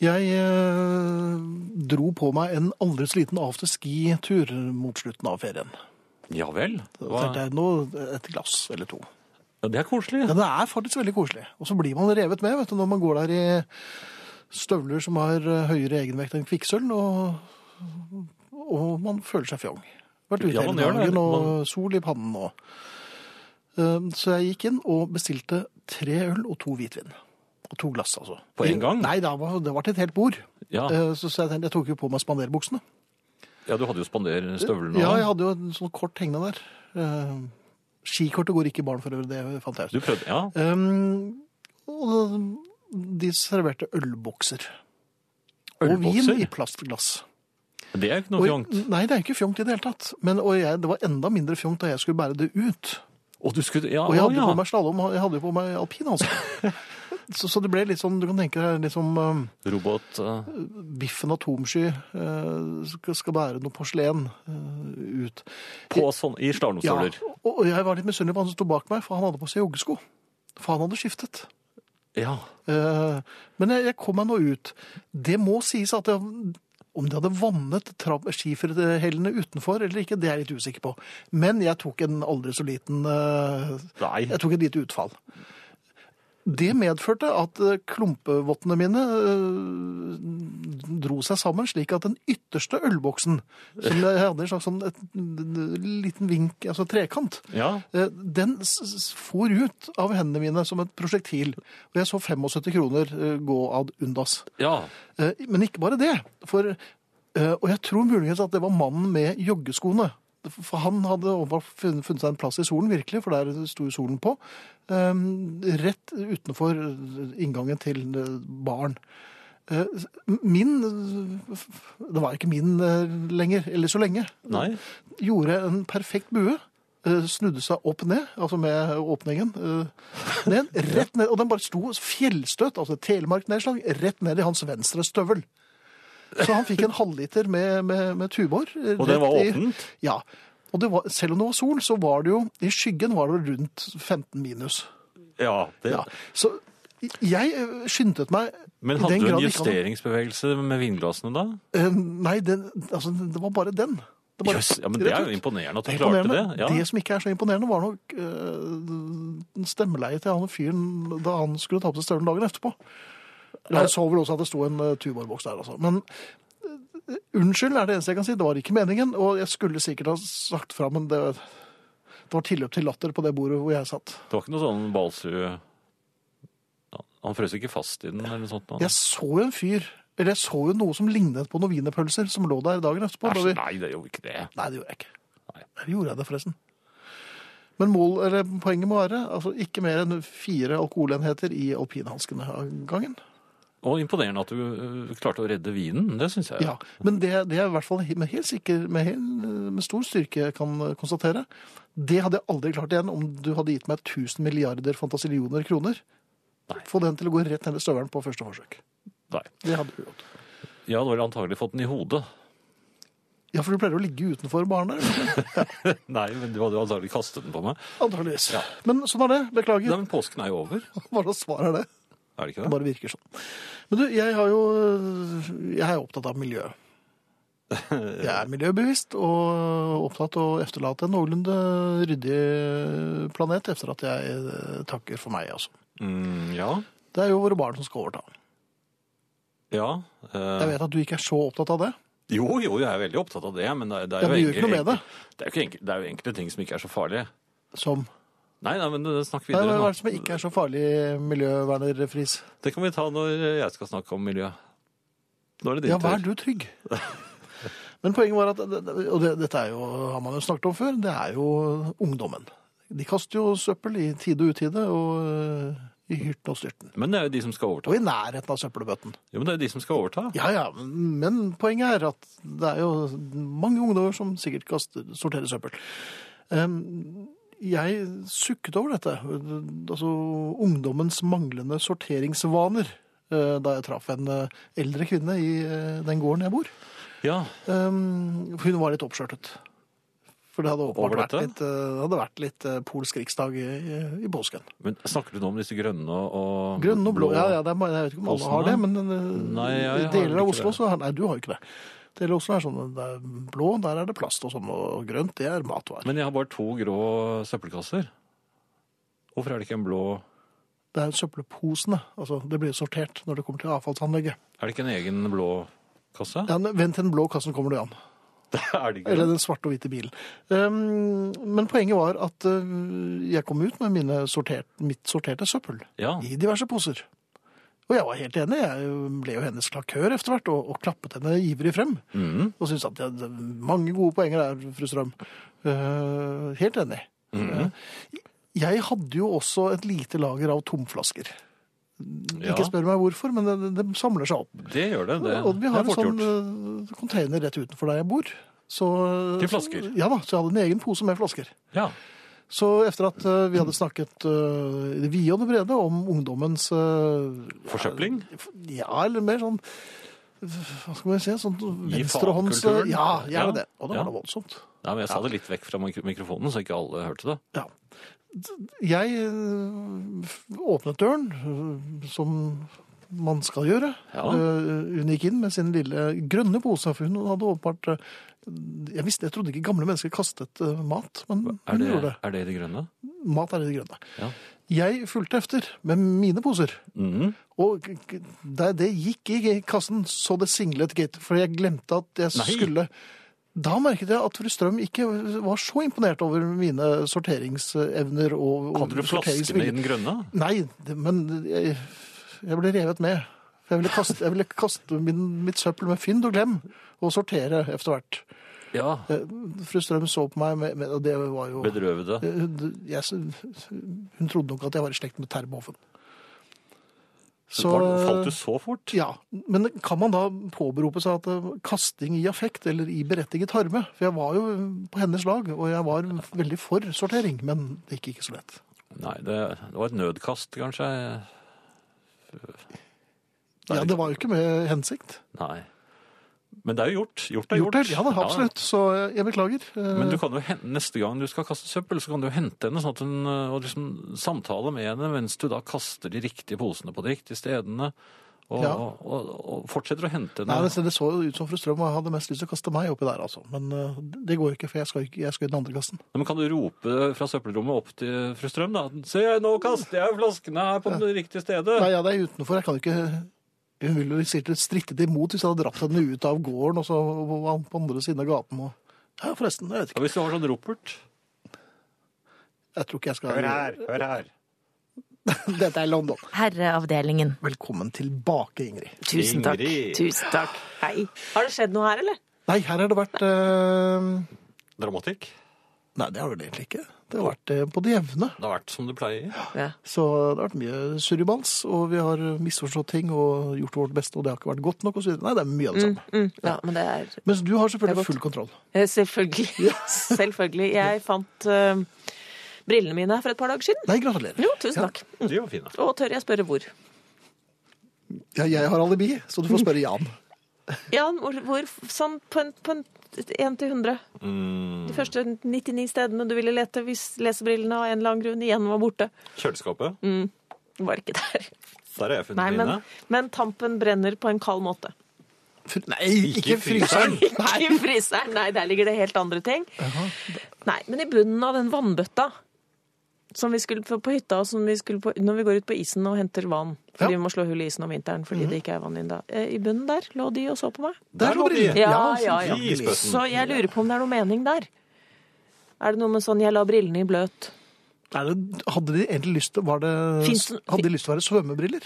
Jeg eh, dro på meg en aldri så liten afterski-tur mot slutten av ferien. Ja vel? Da Hva? tenkte jeg nå et glass eller to. Ja, det er koselig. Ja, det er faktisk veldig koselig. Og så blir man revet med vet du, når man går der i støvler som har eh, høyere egenvekt enn kvikksølv, og, og man føler seg fjong. Vært ute Ja, man hele gjør det. dagen og sol i pannen og Eh, Så jeg gikk inn og bestilte tre øl og to hvitvin. Og to glass, altså. På en gang? Nei, det var, det var til et helt bord. Ja, Eh, Så, så jeg tenkte, jeg tok jo på meg spanderbuksene. ja du hadde jo spanderstøvlene Ja, jeg òg. hadde jo en sånn kort hengende der. Eh, Skikortet går ikke i barn for øvrig, det fant jeg ut. Du prøvde, ja. Um, og de serverte ølbokser. Og Ølbokser? vin i plastglass. Det er jo ikke Og- noe fjongt. Nei, det er ikke fjongt i det hele tatt. Men, og jeg, det var enda mindre fjongt da jeg skulle bære det ut. Og du skulle Ja, Og jeg å, hadde, ja. på meg slalom, jeg hadde jo på meg alpinhanske. <laughs> så, så det ble litt sånn, du kan tenke deg, liksom um, robot eh, Biffen Atomsky eh, skal, skal bære noe porselen eh, ut. på sånn I slalåmstøvler. Ja, og, og jeg var litt misunnelig på han som sto bak meg, for han hadde på seg joggesko. For han hadde skiftet. Ja. Eh, Men jeg, jeg kom meg nå ut. Det må sies at jeg, om de hadde vannet tra- skiferhellene utenfor eller ikke, det er jeg litt usikker på. Men jeg tok en aldri så liten eh, Nei. Jeg tok et lite utfall. Det medførte at eh, klumpevottene mine eh, dro seg sammen, slik at den ytterste ølboksen, som jeg hadde en slags sånn et, liten vink, altså trekant, ja. Eh, Den s- s- for ut av hendene mine som et prosjektil. Og jeg så 75 kroner eh, gå ad undas. Ja. Eh, Men ikke bare det. For, eh, og jeg tror muligens at det var mannen med joggeskoene. For han hadde åpenbart funnet funnet seg en plass i solen, virkelig, for der sto jo solen på. Eh, Rett utenfor inngangen til eh, baren. Eh, Min eh, f- f- Det var ikke min eh, lenger, eller så lenge Nei. gjorde en perfekt bue. eh, Snudde seg opp ned, altså med åpningen. eh, <laughs> Ned, rett ned, og den bare sto fjellstøt, altså telemarknedslag, rett ned i hans venstre støvel. Så han fikk en halvliter med, med, med tubor. eh, Og den var rett i- åpent? Ja. Og det var, selv om det var sol, så var det jo I skyggen var det rundt 15 minus. Ja. Det. Ja. Så jeg eh, skyndte meg Men i hadde den du grad en ikke han- justeringsbevegelse med vinglassene da? Eh, Nei, den, altså, det var bare den. Det bare- Jøss, ja, men rett det er ut. jo imponerende at du Det er klarte det. imponerende. Ja. Det som ikke er så imponerende, var nok øh, stemmeleiet til han fyren da han skulle ta på seg støvelen dagen etterpå. Eller Han så vel også at det sto en uh, tuborboks der, altså. Men øh, unnskyld er det eneste jeg kan si. Det var ikke meningen, og jeg skulle sikkert ha sagt fra, men det, det var tilløp til latter på det bordet hvor jeg satt. Det var ikke noe sånn Balsrud Han- Han frøs ikke fast i den eller noe sånt? Han. Jeg så jo en fyr, eller jeg så jo noe som lignet på noen wienerpølser som lå der dagen etterpå. da Æsj, vi- nei, det er jo ikke det. Nei, det gjorde jeg ikke. Nei. Eller gjorde jeg det, forresten? Men mål, eller poenget må være altså, ikke mer enn fire alkoholenheter i alpinhanskene av gangen. Og imponerende at du øh, klarte å redde vinen. Det syns jeg. Ja, Men det, det jeg i hvert fall he- med, helt sikker, med, hel, med stor styrke kan eh, konstatere, det hadde jeg aldri klart igjen om du hadde gitt meg 1000 milliarder fantasillioner kroner. Få den til å gå rett ned i støvelen på første forsøk. Nei. Det hadde du gjort. Jeg hadde vel antagelig fått den i hodet. Ja, for du pleier å ligge utenfor barnet. Nei, men du hadde jo antagelig kastet den på meg. Antakeligvis. Men sånn er det. Beklager. Nei, men påsken er jo over. Hva slags svar er det? Er det ikke Det det? bare virker sånn. Men du, jeg har jo Jeg er opptatt av miljø. Jeg er miljøbevisst og opptatt av å efterlate en noenlunde ryddig planet etter at jeg eh, takker for meg, altså. Mm, ja. Det er jo våre barn som skal overta. Ja. eh, Jeg vet at du ikke er så opptatt av det. jo, jo, jeg er veldig opptatt av det, men det, er- det Ja, er jo men gjør ikke noe enkel- med det. Det er jo, ikke enkel- det er jo enkelte ting som ikke er så farlige. Som Nei, nei, men eh, snakk Nei, videre. Hva nå. er det som ikke er så farlig, miljøverner Friis? Det kan vi ta når jeg skal snakke om miljø. Da er det din Ja, vær tur. du trygg. Men poenget var at, og det, dette er jo, har man jo snakket om før, det er jo ungdommen. De kaster jo søppel i tide og utide, og øh, i hyrten og styrten. Men det er jo de som skal overta. Og i nærheten av søppelbøtten. Jo, men det er jo de som skal overta. Ja, ja, men men poenget er at det er jo mange ungdommer som sikkert kaster, sorterer søppel. Ehm, jeg sukket over dette, altså ungdommens manglende sorteringsvaner, eh, da jeg traff en eh, eldre kvinne i eh, den gården jeg bor. Ja, Um, hun var litt oppskjørtet. For det hadde åpenbart Over vært dette? litt, eh, det hadde vært litt eh, polsk riksdag i, i- i påsken. men snakker du nå om disse grønne og Grønn og blå. Ja, ja, det er, ma- jeg vet ikke om alle Åsene? har det, men eh, Nei, jeg i har deler av ikke Oslo det. så har- Nei, du har jo ikke det. Deler av Oslo er sånn det er blå, der er det plast og sånn, og grønt, det er matvarer. Men jeg har bare to grå søppelkasser. Hvorfor er det ikke en blå Det er søppelposene. Altså, det blir sortert når det kommer til avfallsanlegget. Er det ikke en egen blå kasse? Ja, vent til den blå kassen kommer du an. Det <laughs> er det ikke. Eller den svarte og hvite bilen. Um, men poenget var at eh, jeg kom ut med mine sortert, mitt sorterte søppel. Ja. i diverse poser. Og jeg var helt enig. Jeg ble jo hennes klakør etter hvert, og, og klappet henne ivrig frem. Mhm. Og syntes at det, det, mange gode poenger der, fru Strøm. Eh, helt enig. Eh, Mhm. Jeg hadde jo også et lite lager av tomflasker. ja. Ikke spør meg hvorfor, men det, det samler seg opp. Det gjør det. Det, og vi det har er en fort sånn gjort. eh, container rett utenfor der jeg bor. Så, Til flasker? ja da, så jeg hadde en egen pose med flasker. Ja. Så etter at eh, vi hadde snakket eh, i det vide og det brede om ungdommens eh, Forsøpling? Ja, eller mer sånn Hva skal man si? Sånn I venstrehånds... fagkulturen? Ja, Ja. gjerne det. Og det Ja. var da voldsomt. Nei, men jeg sa det litt vekk fra mik- mikrofonen, så ikke alle hørte det. Ja. Jeg øh, åpnet døren, øh, som man skal gjøre. Ja. Øh, Hun gikk inn med sin lille grønne pose, for hun hadde åpenbart øh, Jeg visste, jeg trodde ikke gamle mennesker kastet øh, mat, men Er hun det gjorde det. er det, i det grønne? Mat er i det grønne. Ja. Jeg fulgte efter med mine poser. Mhm. Og k- k- det, det gikk i kassen, så det singlet, gitt. For jeg glemte at jeg Nei. skulle Da merket jeg at fru Strøm ikke var så imponert over mine sorteringsevner og, og Hadde du flaskene i sorteringsvilje. den grønne? Nei, det, men jeg, jeg ble revet med. For Jeg ville kaste, jeg ville kaste min, mitt søppel med fynd og glem, og sortere etter hvert. Ja. Eh, Fru Strøm så på meg, med, med, og det var jo Bedrøvede. Eh, hun, jeg, hun trodde nok at jeg var i slekt med Terboven. Så... eh, Falt du så fort? Ja, men kan man da påberope seg at eh, kasting i affekt eller i berettiget harme? For jeg var jo eh, på hennes lag, og jeg var veldig for sortering, men det gikk ikke så lett. Nei, det, det var et nødkast, kanskje. Ja, Det var jo ikke med hensikt. Nei. Men det er jo gjort. Gjort er gjort. Gjort det, ja da, absolutt. Så eh, jeg beklager. Eh, Men du kan jo, hen- neste gang du skal kaste søppel, så kan du jo hente henne sånn at hun, øh, og liksom samtale med henne mens du da kaster de riktige posene på de riktige stedene. Og, Ja. og, og, og fortsetter å hente Nei, henne. det, det så jo ut som fru Strøm hadde mest lyst til å kaste meg oppi der, altså. Men eh, det går jo ikke, for jeg skal, ikke, jeg skal i den andre kassen. Nei, Men kan du rope fra søppelrommet opp til fru Strøm, da? Se, nå kaster jeg flaskene her på det riktige stedet. Nei, ja, det er utenfor. Jeg kan jo ikke Hun ville jo sikkert strittet imot hvis jeg hadde dratt henne ut av gården og så og på andre siden av gaten. Og... Ja, forresten. Jeg vet Ja, ikke. hvis du har sånn ropert. Jeg tror ikke jeg skal hør her. Dette er London. Herreavdelingen. Velkommen tilbake, Ingrid. Tusen takk. Ingrid. Tusen takk. Hei. Har det skjedd noe her, eller? Nei, her har det vært eh, Dramatikk. Nei, det har vel egentlig ikke. Det har vært eh, på det jevne. Det har vært som det pleier. Så det har vært mye surrubans, og vi har misforstått ting og gjort vårt beste, og det har ikke vært godt nok, og så videre. Nei, det er mye av det Mm, samme. mm, ja, men det er Mens du har Det er selvfølgelig godt. full kontroll. Eh, Selvfølgelig. <laughs> Selvfølgelig. Jeg fant eh, brillene mine for et par dager siden. Nei, gratulerer. Jo, tusen takk. De var fine. Og tør jeg spørre hvor? Ja, jeg har alibi, så du får spørre Jan. Jan, hvor, hvor sånn på en, på en 1 til 100. Mm, De første 99 stedene du ville lete hvis lesebrillene av en eller annen grunn igjen var borte. kjøleskapet. Det var ikke der. Der har jeg funnet Mm. Nei, men, mine. men tampen brenner på en kald måte. Fr- Nei, ikke fryseren! Ikke i fryseren. Nei, der ligger det helt andre ting. Nei, men i bunnen av den vannbøtta som vi skulle på, på hytta, og som vi skulle på, når vi går ut på isen og henter vann. Fordi Ja. Mhm. vi må slå hull i isen om vinteren fordi det ikke er vann inne da. Eh, I bunnen der lå de og så på meg. Der lå brillene. Ja, så ja, ja. hyggelig. Isbøtten. Så jeg lurer på om det er noe mening der. Er det noe med sånn 'jeg la brillene i bløt'? Er det, hadde de egentlig lyst til, var det, Finns det- hadde de lyst til å være svømmebriller?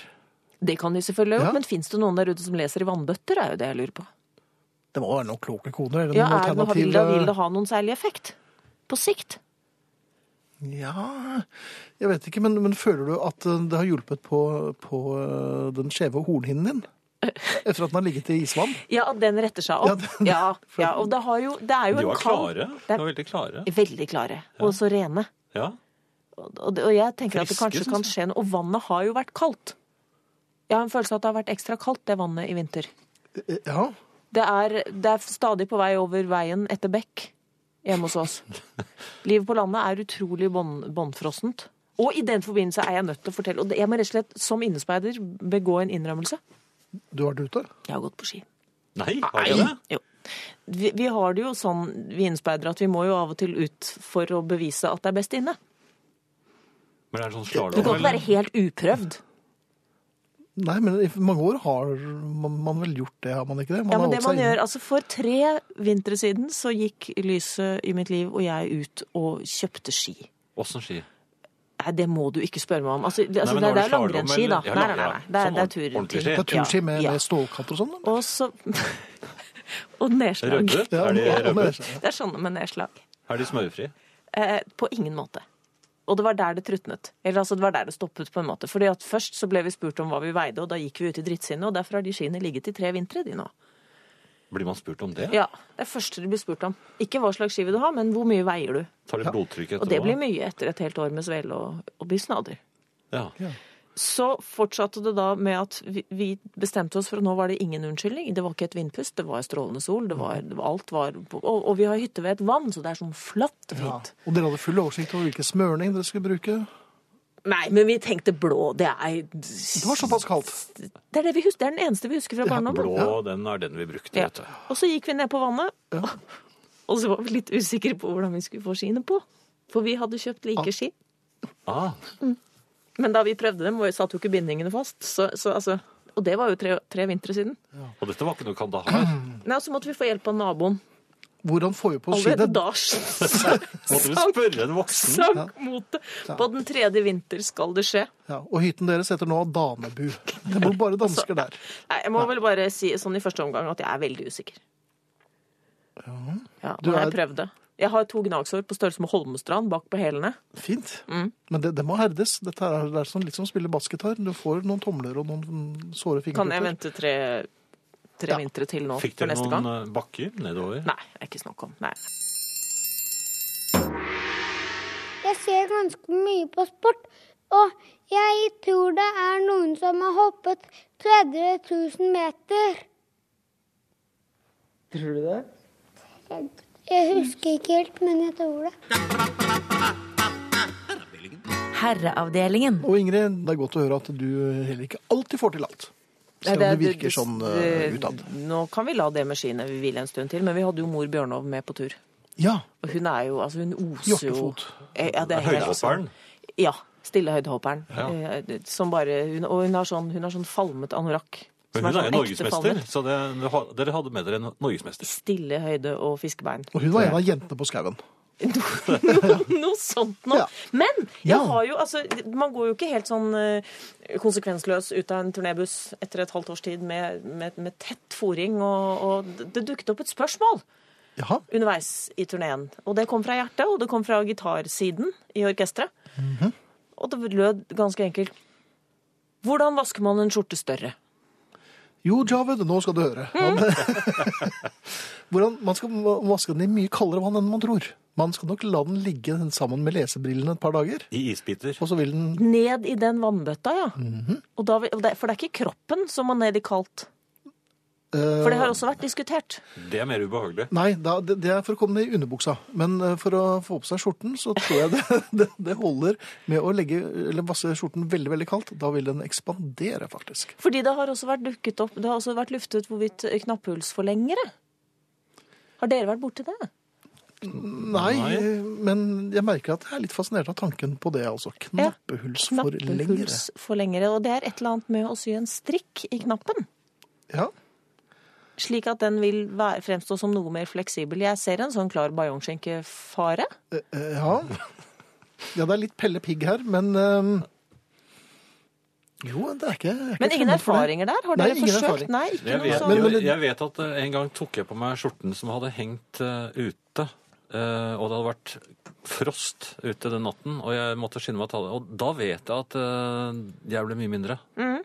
Det kan de selvfølgelig ha Ja. gjort, men fins det noen der ute som leser i vannbøtter? er jo det jeg lurer på. Det må være noen kloke koner. Eller Ja, noen er det noe, vil, det, eh, vil det ha noen særlig effekt? På sikt? Ja, jeg vet ikke, men, men føler du at eh, det har hjulpet på, på eh, den skjeve hornhinnen <laughs> din? Etter at den har ligget i isvann? Ja, at den retter seg Ja, opp. den- Ja, ja, og det, har jo, det er jo De en var kald klare. Det De var veldig klare. er veldig klare, og så rene. Ja. Og, og det- og jeg tenker at det Friske, kanskje synes kan jeg. skje noe. Og vannet har jo vært kaldt. Jeg har en følelse av at det har vært ekstra kaldt, det vannet, i vinter. Eh, Ja. Det er, det er stadig på vei over veien etter bekk hjemme hos <laughs> oss. Livet på landet er utrolig bånd- båndfrossent. Og i den forbindelse er jeg nødt til å fortelle, og det- jeg må rett og slett som innespeider begå en innrømmelse. Du har vært ute? Jeg har gått på ski. Nei, har de det? Jo. Vi, vi har det jo sånn, vi innspeidere, at vi må jo av og til ut for å bevise at det er best inne. Men er det sånn Du kan slalåm? ikke være helt uprøvd. Nei, men i mange år har man, man vel gjort det, har man ikke det? Man Ja, har men det holdt seg man inne. gjør, altså For tre vintre siden så gikk lyset i mitt liv og jeg ut og kjøpte ski. Åssen ski? Nei, det må du ikke spørre meg om. Altså, det, altså, men det, har du det er jo langrennsski, da. slalom, eller- Nei, Ja, nei, nei, ja. nei. Det er, Sånn det er ordentlig- tur, ordentlig Det er turski med, Ja. med stålkatter og sånn? da. Og så <laughs> Og nedslag. Røde? Ja, Er de ja, røde? men- Det er sånne med nedslag. Er de smørfrie? Eh, på ingen måte. Og det var der det trutnet. Eller altså, det var der det stoppet, på en måte. Fordi at først så ble vi spurt om hva vi veide, og da gikk vi ut i drittsinnet, og derfor har de skiene ligget i tre vintre, de nå. Blir man spurt om det? Ja, Det er første du blir spurt om. Ikke hva slags ski vil du ha, men hvor mye veier du? Tar de blodtrykk etterpå? Og det blir mye etter et helt år med svele og, og bisnader. Ja. Så fortsatte det da med at vi, vi bestemte oss for at nå var det ingen unnskyldning. Det var ikke et vindpust, det var strålende sol, det var, det var alt var på, og, og vi har hytte ved et vann, så det er sånn flatt og Ja. fint. Og dere hadde full oversikt over hvilken smørning dere skulle bruke? Nei, men vi tenkte blå. Det er Det Det var såpass kaldt. Det er, det, vi husker, det er den eneste vi husker fra barndommen. Blå, den er den vi brukte, Ja. vet du. Og så gikk vi ned på vannet, og så var vi litt usikre på hvordan vi skulle få skiene på. For vi hadde kjøpt like ski. Ah, Men da vi prøvde dem, var- satt jo ikke bindingene fast. Så, så, altså, og det var jo tre, tre vintre siden. og dette var ikke noe kandahar. Nei, og så måtte vi få hjelp av naboen. Hvordan får vi på skiene? Allerede da Måtte du spørre en voksen? sank <laughs> motet. På den tredje vinter skal det skje. Ja, og hytten deres heter nå Danebu. Det bor bare dansker der. Nei, jeg må vel bare si sånn i første omgang at jeg er veldig usikker. Ja, Du men jeg er- prøvde. Jeg har to gnagsår på størrelse med Holmestrand bak på hælene. Fint. Men det, det må herdes. Dette er, det er sånn, litt som å spille basket her. Du får noen tomler og noen såre Kan jeg fingerpupper. vente tre, tre vintre til nå Fikk for dere neste noen gang? eh, bakker nedover? Nei, det er ikke snakk om. Nei. Jeg ser ganske mye på sport, og jeg tror det er noen som har hoppet 30 000 meter. Tror du det? Jeg, jeg husker ikke helt, men jeg tror det. Herreavdelingen. Og Ingrid, det er godt å høre at du heller ikke alltid får til alt. Selv om det virker sånn eh, utad. Nå kan vi la det med skiene vi vil en stund til, men vi hadde jo mor Bjørnov med på tur. Ja. Og hun er jo Altså, hun oser jo Hjortefot. Eh, Ja, det er helt- Høydehopperen? Ja. Stille høydehopperen. Ja. Eh, Som bare, hun, og hun har sånn, hun har sånn falmet anorakk. som Men hun er jo sånn ekte norgesmester, falmet. så det, dere hadde med dere en norgesmester. Stille høyde og fiskebein. Og hun var en av jentene på skauen. Noe, noe sånt noe. Ja. Men jeg Ja. har jo, altså, man går jo ikke helt sånn eh, konsekvensløs ut av en turnébuss etter et halvt års tid med, med, med tett fòring, og, og det dukket opp et spørsmål. underveis i turneen. Og det kom fra hjertet, og det kom fra gitarsiden i orkesteret. Mhm. Og det lød ganske enkelt Hvordan vasker man en skjorte større? Jo, Javed, nå skal du høre. <laughs> Hvordan, man skal va- vaske den i mye kaldere vann enn man tror. Man skal nok la den ligge sammen med lesebrillene et par dager. I isbiter. Og så vil den Ned i den vannbøtta, ja. Mhm. og da, vil- og det, for det er ikke kroppen som må ned i kaldt. eh, For det har også vært diskutert. Det er mer ubehagelig. Nei, da, det, det er for å komme ned i underbuksa. Men eh, for å få på seg skjorten, så tror jeg det, <laughs> det, det holder med å legge, eller vasse skjorten veldig veldig kaldt. Da vil den ekspandere, faktisk. Fordi det har også vært dukket opp, det har også vært luftet hvorvidt knapphullsforlengere. Har dere vært borti det? Nei, eh, men jeg merker at jeg er litt fascinert av tanken på det, altså. Knappehullsforlengere. Knapphullsforlengere. Og det er et eller annet med å sy en strikk i knappen. Ja. Slik at den vil være, fremstå som noe mer fleksibel. Jeg ser en sånn klar bajonskinkefare. Eh, eh, Ja. ja, det er litt Pelle Pigg her, men eh, Jo, det er ikke jeg er ikke Men fremmed ingen for det. erfaringer der? Har Nei, dere ingen forsøkt? erfaring. Nei, ikke Jeg noe vet, sånn- jo, jeg vet at eh, en gang tok jeg på meg skjorten som hadde hengt eh, ute. eh, og det hadde vært frost ute den natten, og jeg måtte skynde meg å ta det. Og da vet jeg at eh, jeg ble mye mindre. Mhm. <laughs>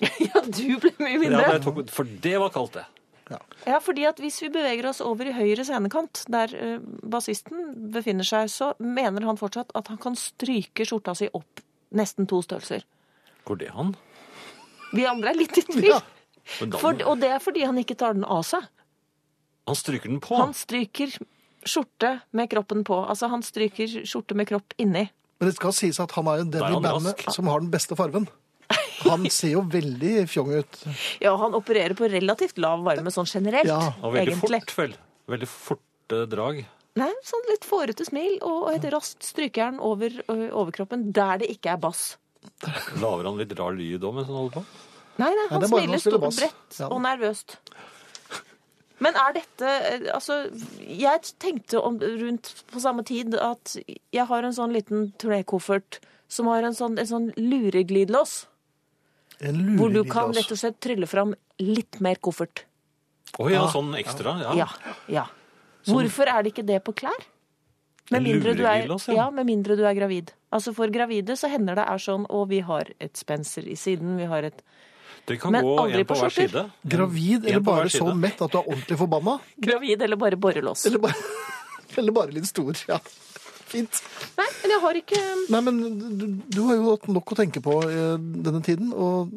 Ja, du ble mye Ja, da mindre. jeg tok, for det var kaldt, det. Ja, fordi at hvis vi beveger oss over i høyre scenekant, der eh, bassisten befinner seg, så mener han fortsatt at han kan stryke skjorta si opp nesten to størrelser. Går det an? Vi andre er litt i tvil. Men da- For, og det er fordi han ikke tar den av seg. Han stryker den på. Han stryker skjorte med kroppen på. Altså, han stryker skjorte med kropp inni. Men det skal sies at han er jo Da den er i han bandet som har den beste farven. Han ser jo veldig fjong ut. Ja, han opererer på relativt lav varme sånn generelt, og veldig egentlig. fort, vel. Veldig forte drag. Nei, sånn litt fårete smil, og og et raskt strykejern over ø, overkroppen der det ikke er bass. Lager han litt rar lyd òg mens han holder på? Nei, nei, Nei, det er han bare når han smiler spiller stort og bass. bredt Ja. og nervøst. Men er dette eh, Altså, jeg tenkte om, rundt på samme tid at jeg har en sånn liten turnékoffert som har en sånn, en sånn lureglidelås. En Hvor du kan lureglidelås. rett og slett trylle fram litt mer koffert. Å ja, sånn ekstra. Ja. Ja, ja. Hvorfor er det ikke det på klær? Med En mindre, du er, lureglidelås, ja. ja, med mindre du er gravid. Altså For gravide så hender det er sånn Og vi har et spenser i siden, vi har et Det kan Men gå aldri en på på hver skjorter. side. Gravid eller på hver bare sånn side. så mett at du er ordentlig forbanna? Gravid eller bare borrelås? Eller bare, <laughs> eller bare litt stor, ja. Fint. Nei, men jeg har ikke Nei, men du, du har jo hatt nok å tenke på eh, denne tiden, og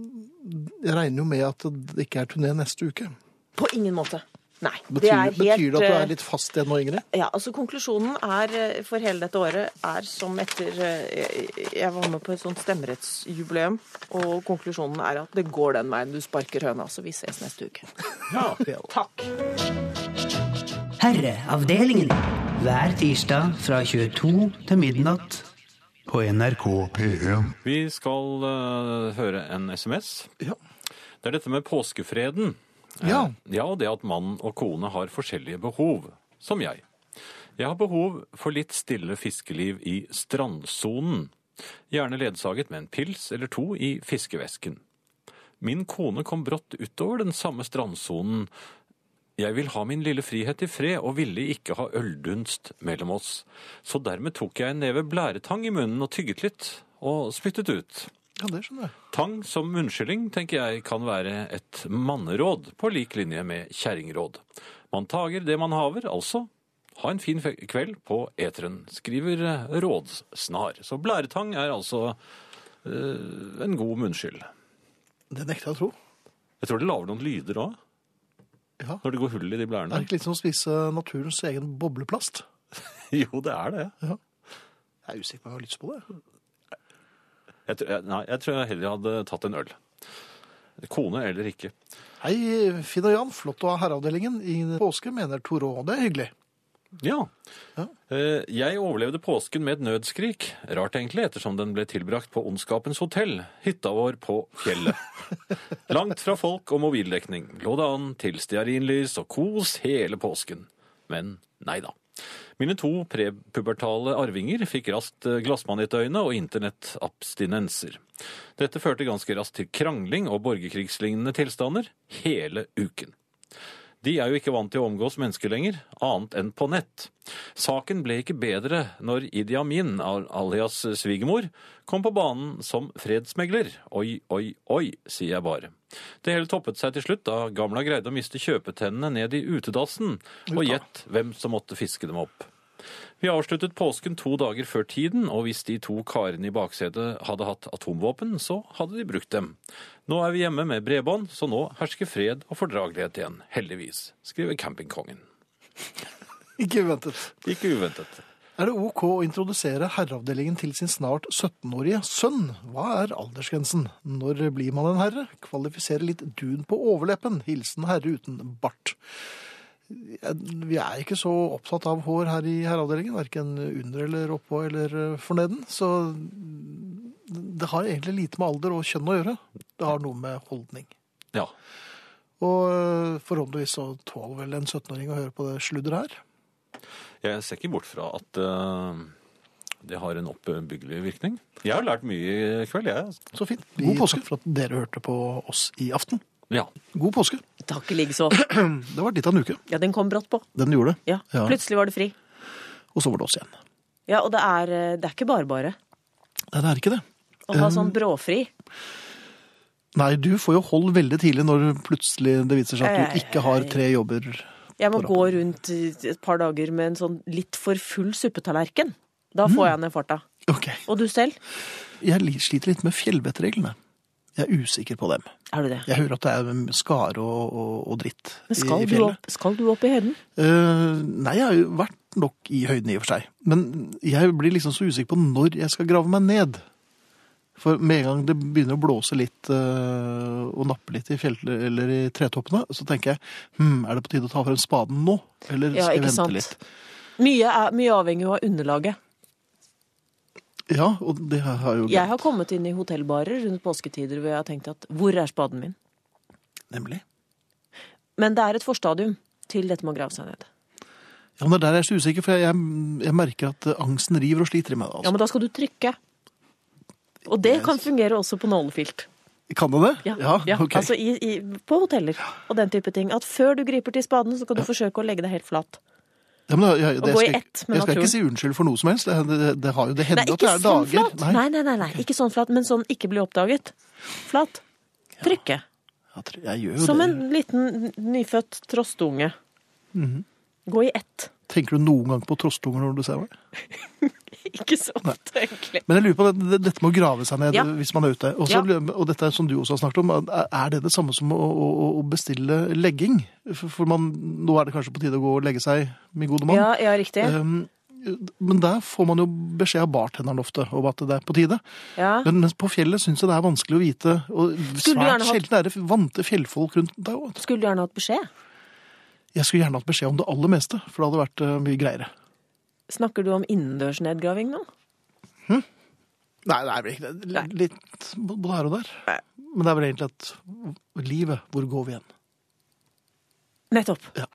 jeg regner jo med at det ikke er turné neste uke. På ingen måte. Nei. Betyr det det, er helt, betyr det at du eh, er litt fast igjen nå, Ingrid? Ja, altså Konklusjonen er eh, for hele dette året er som etter eh, Jeg jeg var med på et sånt stemmerettsjubileum, og konklusjonen er at det går den veien. Du sparker høna, så vi ses neste uke. Takk. Herreavdelingen. Hver tirsdag fra 22 til midnatt. På NRK P1. Vi skal eh, høre en SMS. Det er dette med påskefreden. Ja. Eh, ja, og det at mann og kone har forskjellige behov, som jeg. Jeg har behov for litt stille fiskeliv i strandsonen. Gjerne ledsaget med en pils eller to i fiskevesken. Min kone kom brått utover den samme strandsonen. Jeg vil ha min lille frihet i fred og ville ikke ha øldunst mellom oss. Så dermed tok jeg en neve blæretang i munnen og tygget litt, og spyttet ut. Ja, det skjønner jeg. Tang som unnskyldning tenker jeg kan være et manneråd på lik linje med kjerringråd. Man tager det man haver, altså. Ha en fin fe- kveld på eteren, skriver eh, Rådsnar. Så blæretang er altså eh, en god munnskyld. Det nekter jeg å tro. Jeg tror det lager noen lyder òg. Ja. Når det går hull i de Det er blærene. ikke litt som å spise naturens egen bobleplast. <laughs> Jo, det er det. Jeg er usikker på om jeg har lyst på det. Jeg, tror- jeg, nei, jeg tror jeg heller hadde tatt en øl. Kone eller ikke. Hei, Finn og Jan. Flott å ha herreavdelingen i påske, mener Toro. Det er hyggelig. <laughs> Ja. Eh, Jeg overlevde påsken med et nødskrik. Rart egentlig, ettersom den ble tilbrakt på Ondskapens hotell, hytta vår på fjellet. Langt fra folk og mobildekning. Lå det an til stearinlys og kos hele påsken. Men nei da. Mine to prepubertale arvinger fikk raskt eh, glassmanetøyne og internettabstinenser. Dette førte ganske raskt til krangling og borgerkrigslignende tilstander hele uken. De er jo ikke vant til å omgås mennesker lenger, annet enn på nett. Saken ble ikke bedre når Idi Amin, al- alias svigermor, kom på banen som fredsmegler. Oi, oi, oi, sier jeg bare. Det hele toppet seg til slutt da gamla greide å miste kjøpetennene ned i utedassen, og gjett hvem som måtte fiske dem opp. Vi avsluttet påsken to dager før tiden, og hvis de to karene i baksetet hadde hatt atomvåpen, så hadde de brukt dem. Nå er vi hjemme med bredbånd, så nå hersker fred og fordragelighet igjen. Heldigvis, skriver campingkongen. Ikke uventet. Ikke uventet. Er det OK å introdusere herreavdelingen til sin snart 17-årige sønn? Hva er aldersgrensen? Når blir man en herre? Kvalifisere litt dun på overleppen. Hilsen herre uten bart. Jeg- Vi er ikke så opptatt av hår her i herreavdelingen, verken under eller oppå eller eh, forneden. Så det har egentlig lite med alder og kjønn å gjøre. Det har noe med holdning. Ja. Og eh, forhåpentligvis så tåler vel en 17-åring å høre på det sludderet her. Jeg ser ikke bort fra at eh, det har en oppbyggelig virkning. Jeg har lært mye i kveld, jeg. Så fint. God påske for at dere hørte på oss i aften. Ja. God påske. Takk i like så. Det var litt av en uke. Ja, den kom brått på. Den gjorde det. Ja. Plutselig var det fri. Og så var det oss igjen. Ja, og det er, eh, det er ikke bare bare Nei, det er ikke det. å ha Um, sånn bråfri. Nei, du får jo hold veldig tidlig når plutselig det viser seg at du Ei, ikke har tre jobber. Jeg må gå rundt i et par dager med en sånn litt for full suppetallerken. Da Mm. får jeg ned farta. Og du selv? Jeg li- sliter litt med fjellvettreglene. Jeg er usikker på dem. Er du det? Jeg hører at det er skare og, og, og dritt Men skal, i, i du fjellet. opp, skal du opp i høyden? Eh, nei, jeg har jo vært nok i høyden i og for seg. Men jeg blir liksom så usikker på når jeg skal grave meg ned. For med en gang det begynner å blåse litt eh, og nappe litt i fjell, eller i tretoppene, så tenker jeg hm, er det på tide å ta frem spaden nå? Eller Ja, skal jeg ikke vente sant. litt? Mye, er, mye avhenger jo av underlaget. Ja, og det har jo Jeg har kommet inn i hotellbarer rundt påsketider hvor jeg har tenkt at hvor er spaden min? Nemlig. Men det er et forstadium til dette med å grave seg ned. Ja, men det er der jeg er så usikker, for jeg, jeg, jeg merker at eh, angsten river og sliter i meg. Ja, Altså. men da skal du trykke. Og det kan fungere også på nålefilt. Kan det det? Ja, ja, ja, ok. altså i, i, på hoteller og den type ting. At før du griper til spaden, så skal du forsøke å legge deg helt flat. Ja, men jeg, jeg, Å jeg, gå i skal, ett ikke- med jeg skal ikke naturen. si unnskyld for noe som helst. Det, det, det, har jo, det Nei, hender at det ikke er sånn dager flat! Nei, nei, nei, nei, ikke sånn flat, men sånn ikke bli oppdaget. Flat. Trykke. Jeg gjør jo Som det. en liten nyfødt trostunge. Mhm. Gå i ett. <laughs> Tenker du noen gang på trosstunger når du ser meg? Ikke så ofte, egentlig. Men jeg lurer på det, det, dette med å grave seg ned Ja. hvis man er ute. Og så Ja. lurer jeg- og dette er som du også har snakket om, er er det det samme som å, å, å bestille legging? For, for man, nå er det kanskje på tide å gå og legge seg, min gode mann. Ja, ja, riktig. Um, men der får man jo beskjed av bartenderen ofte om at det er på tide. Ja. Men mens på fjellet syns jeg det er vanskelig å vite. Og Skulle du svært gjerne hatt- sjelden er det vante fjellfolk rundt deg òg. Skulle du gjerne hatt beskjed? Jeg skulle gjerne hatt beskjed om det aller meste, for det hadde vært eh, mye greiere. Snakker du om innendørsnedgraving nå? Nei, det er vel ikke det. L- Litt både her og der. Men det er vel egentlig at livet, hvor går vi hen? Nettopp.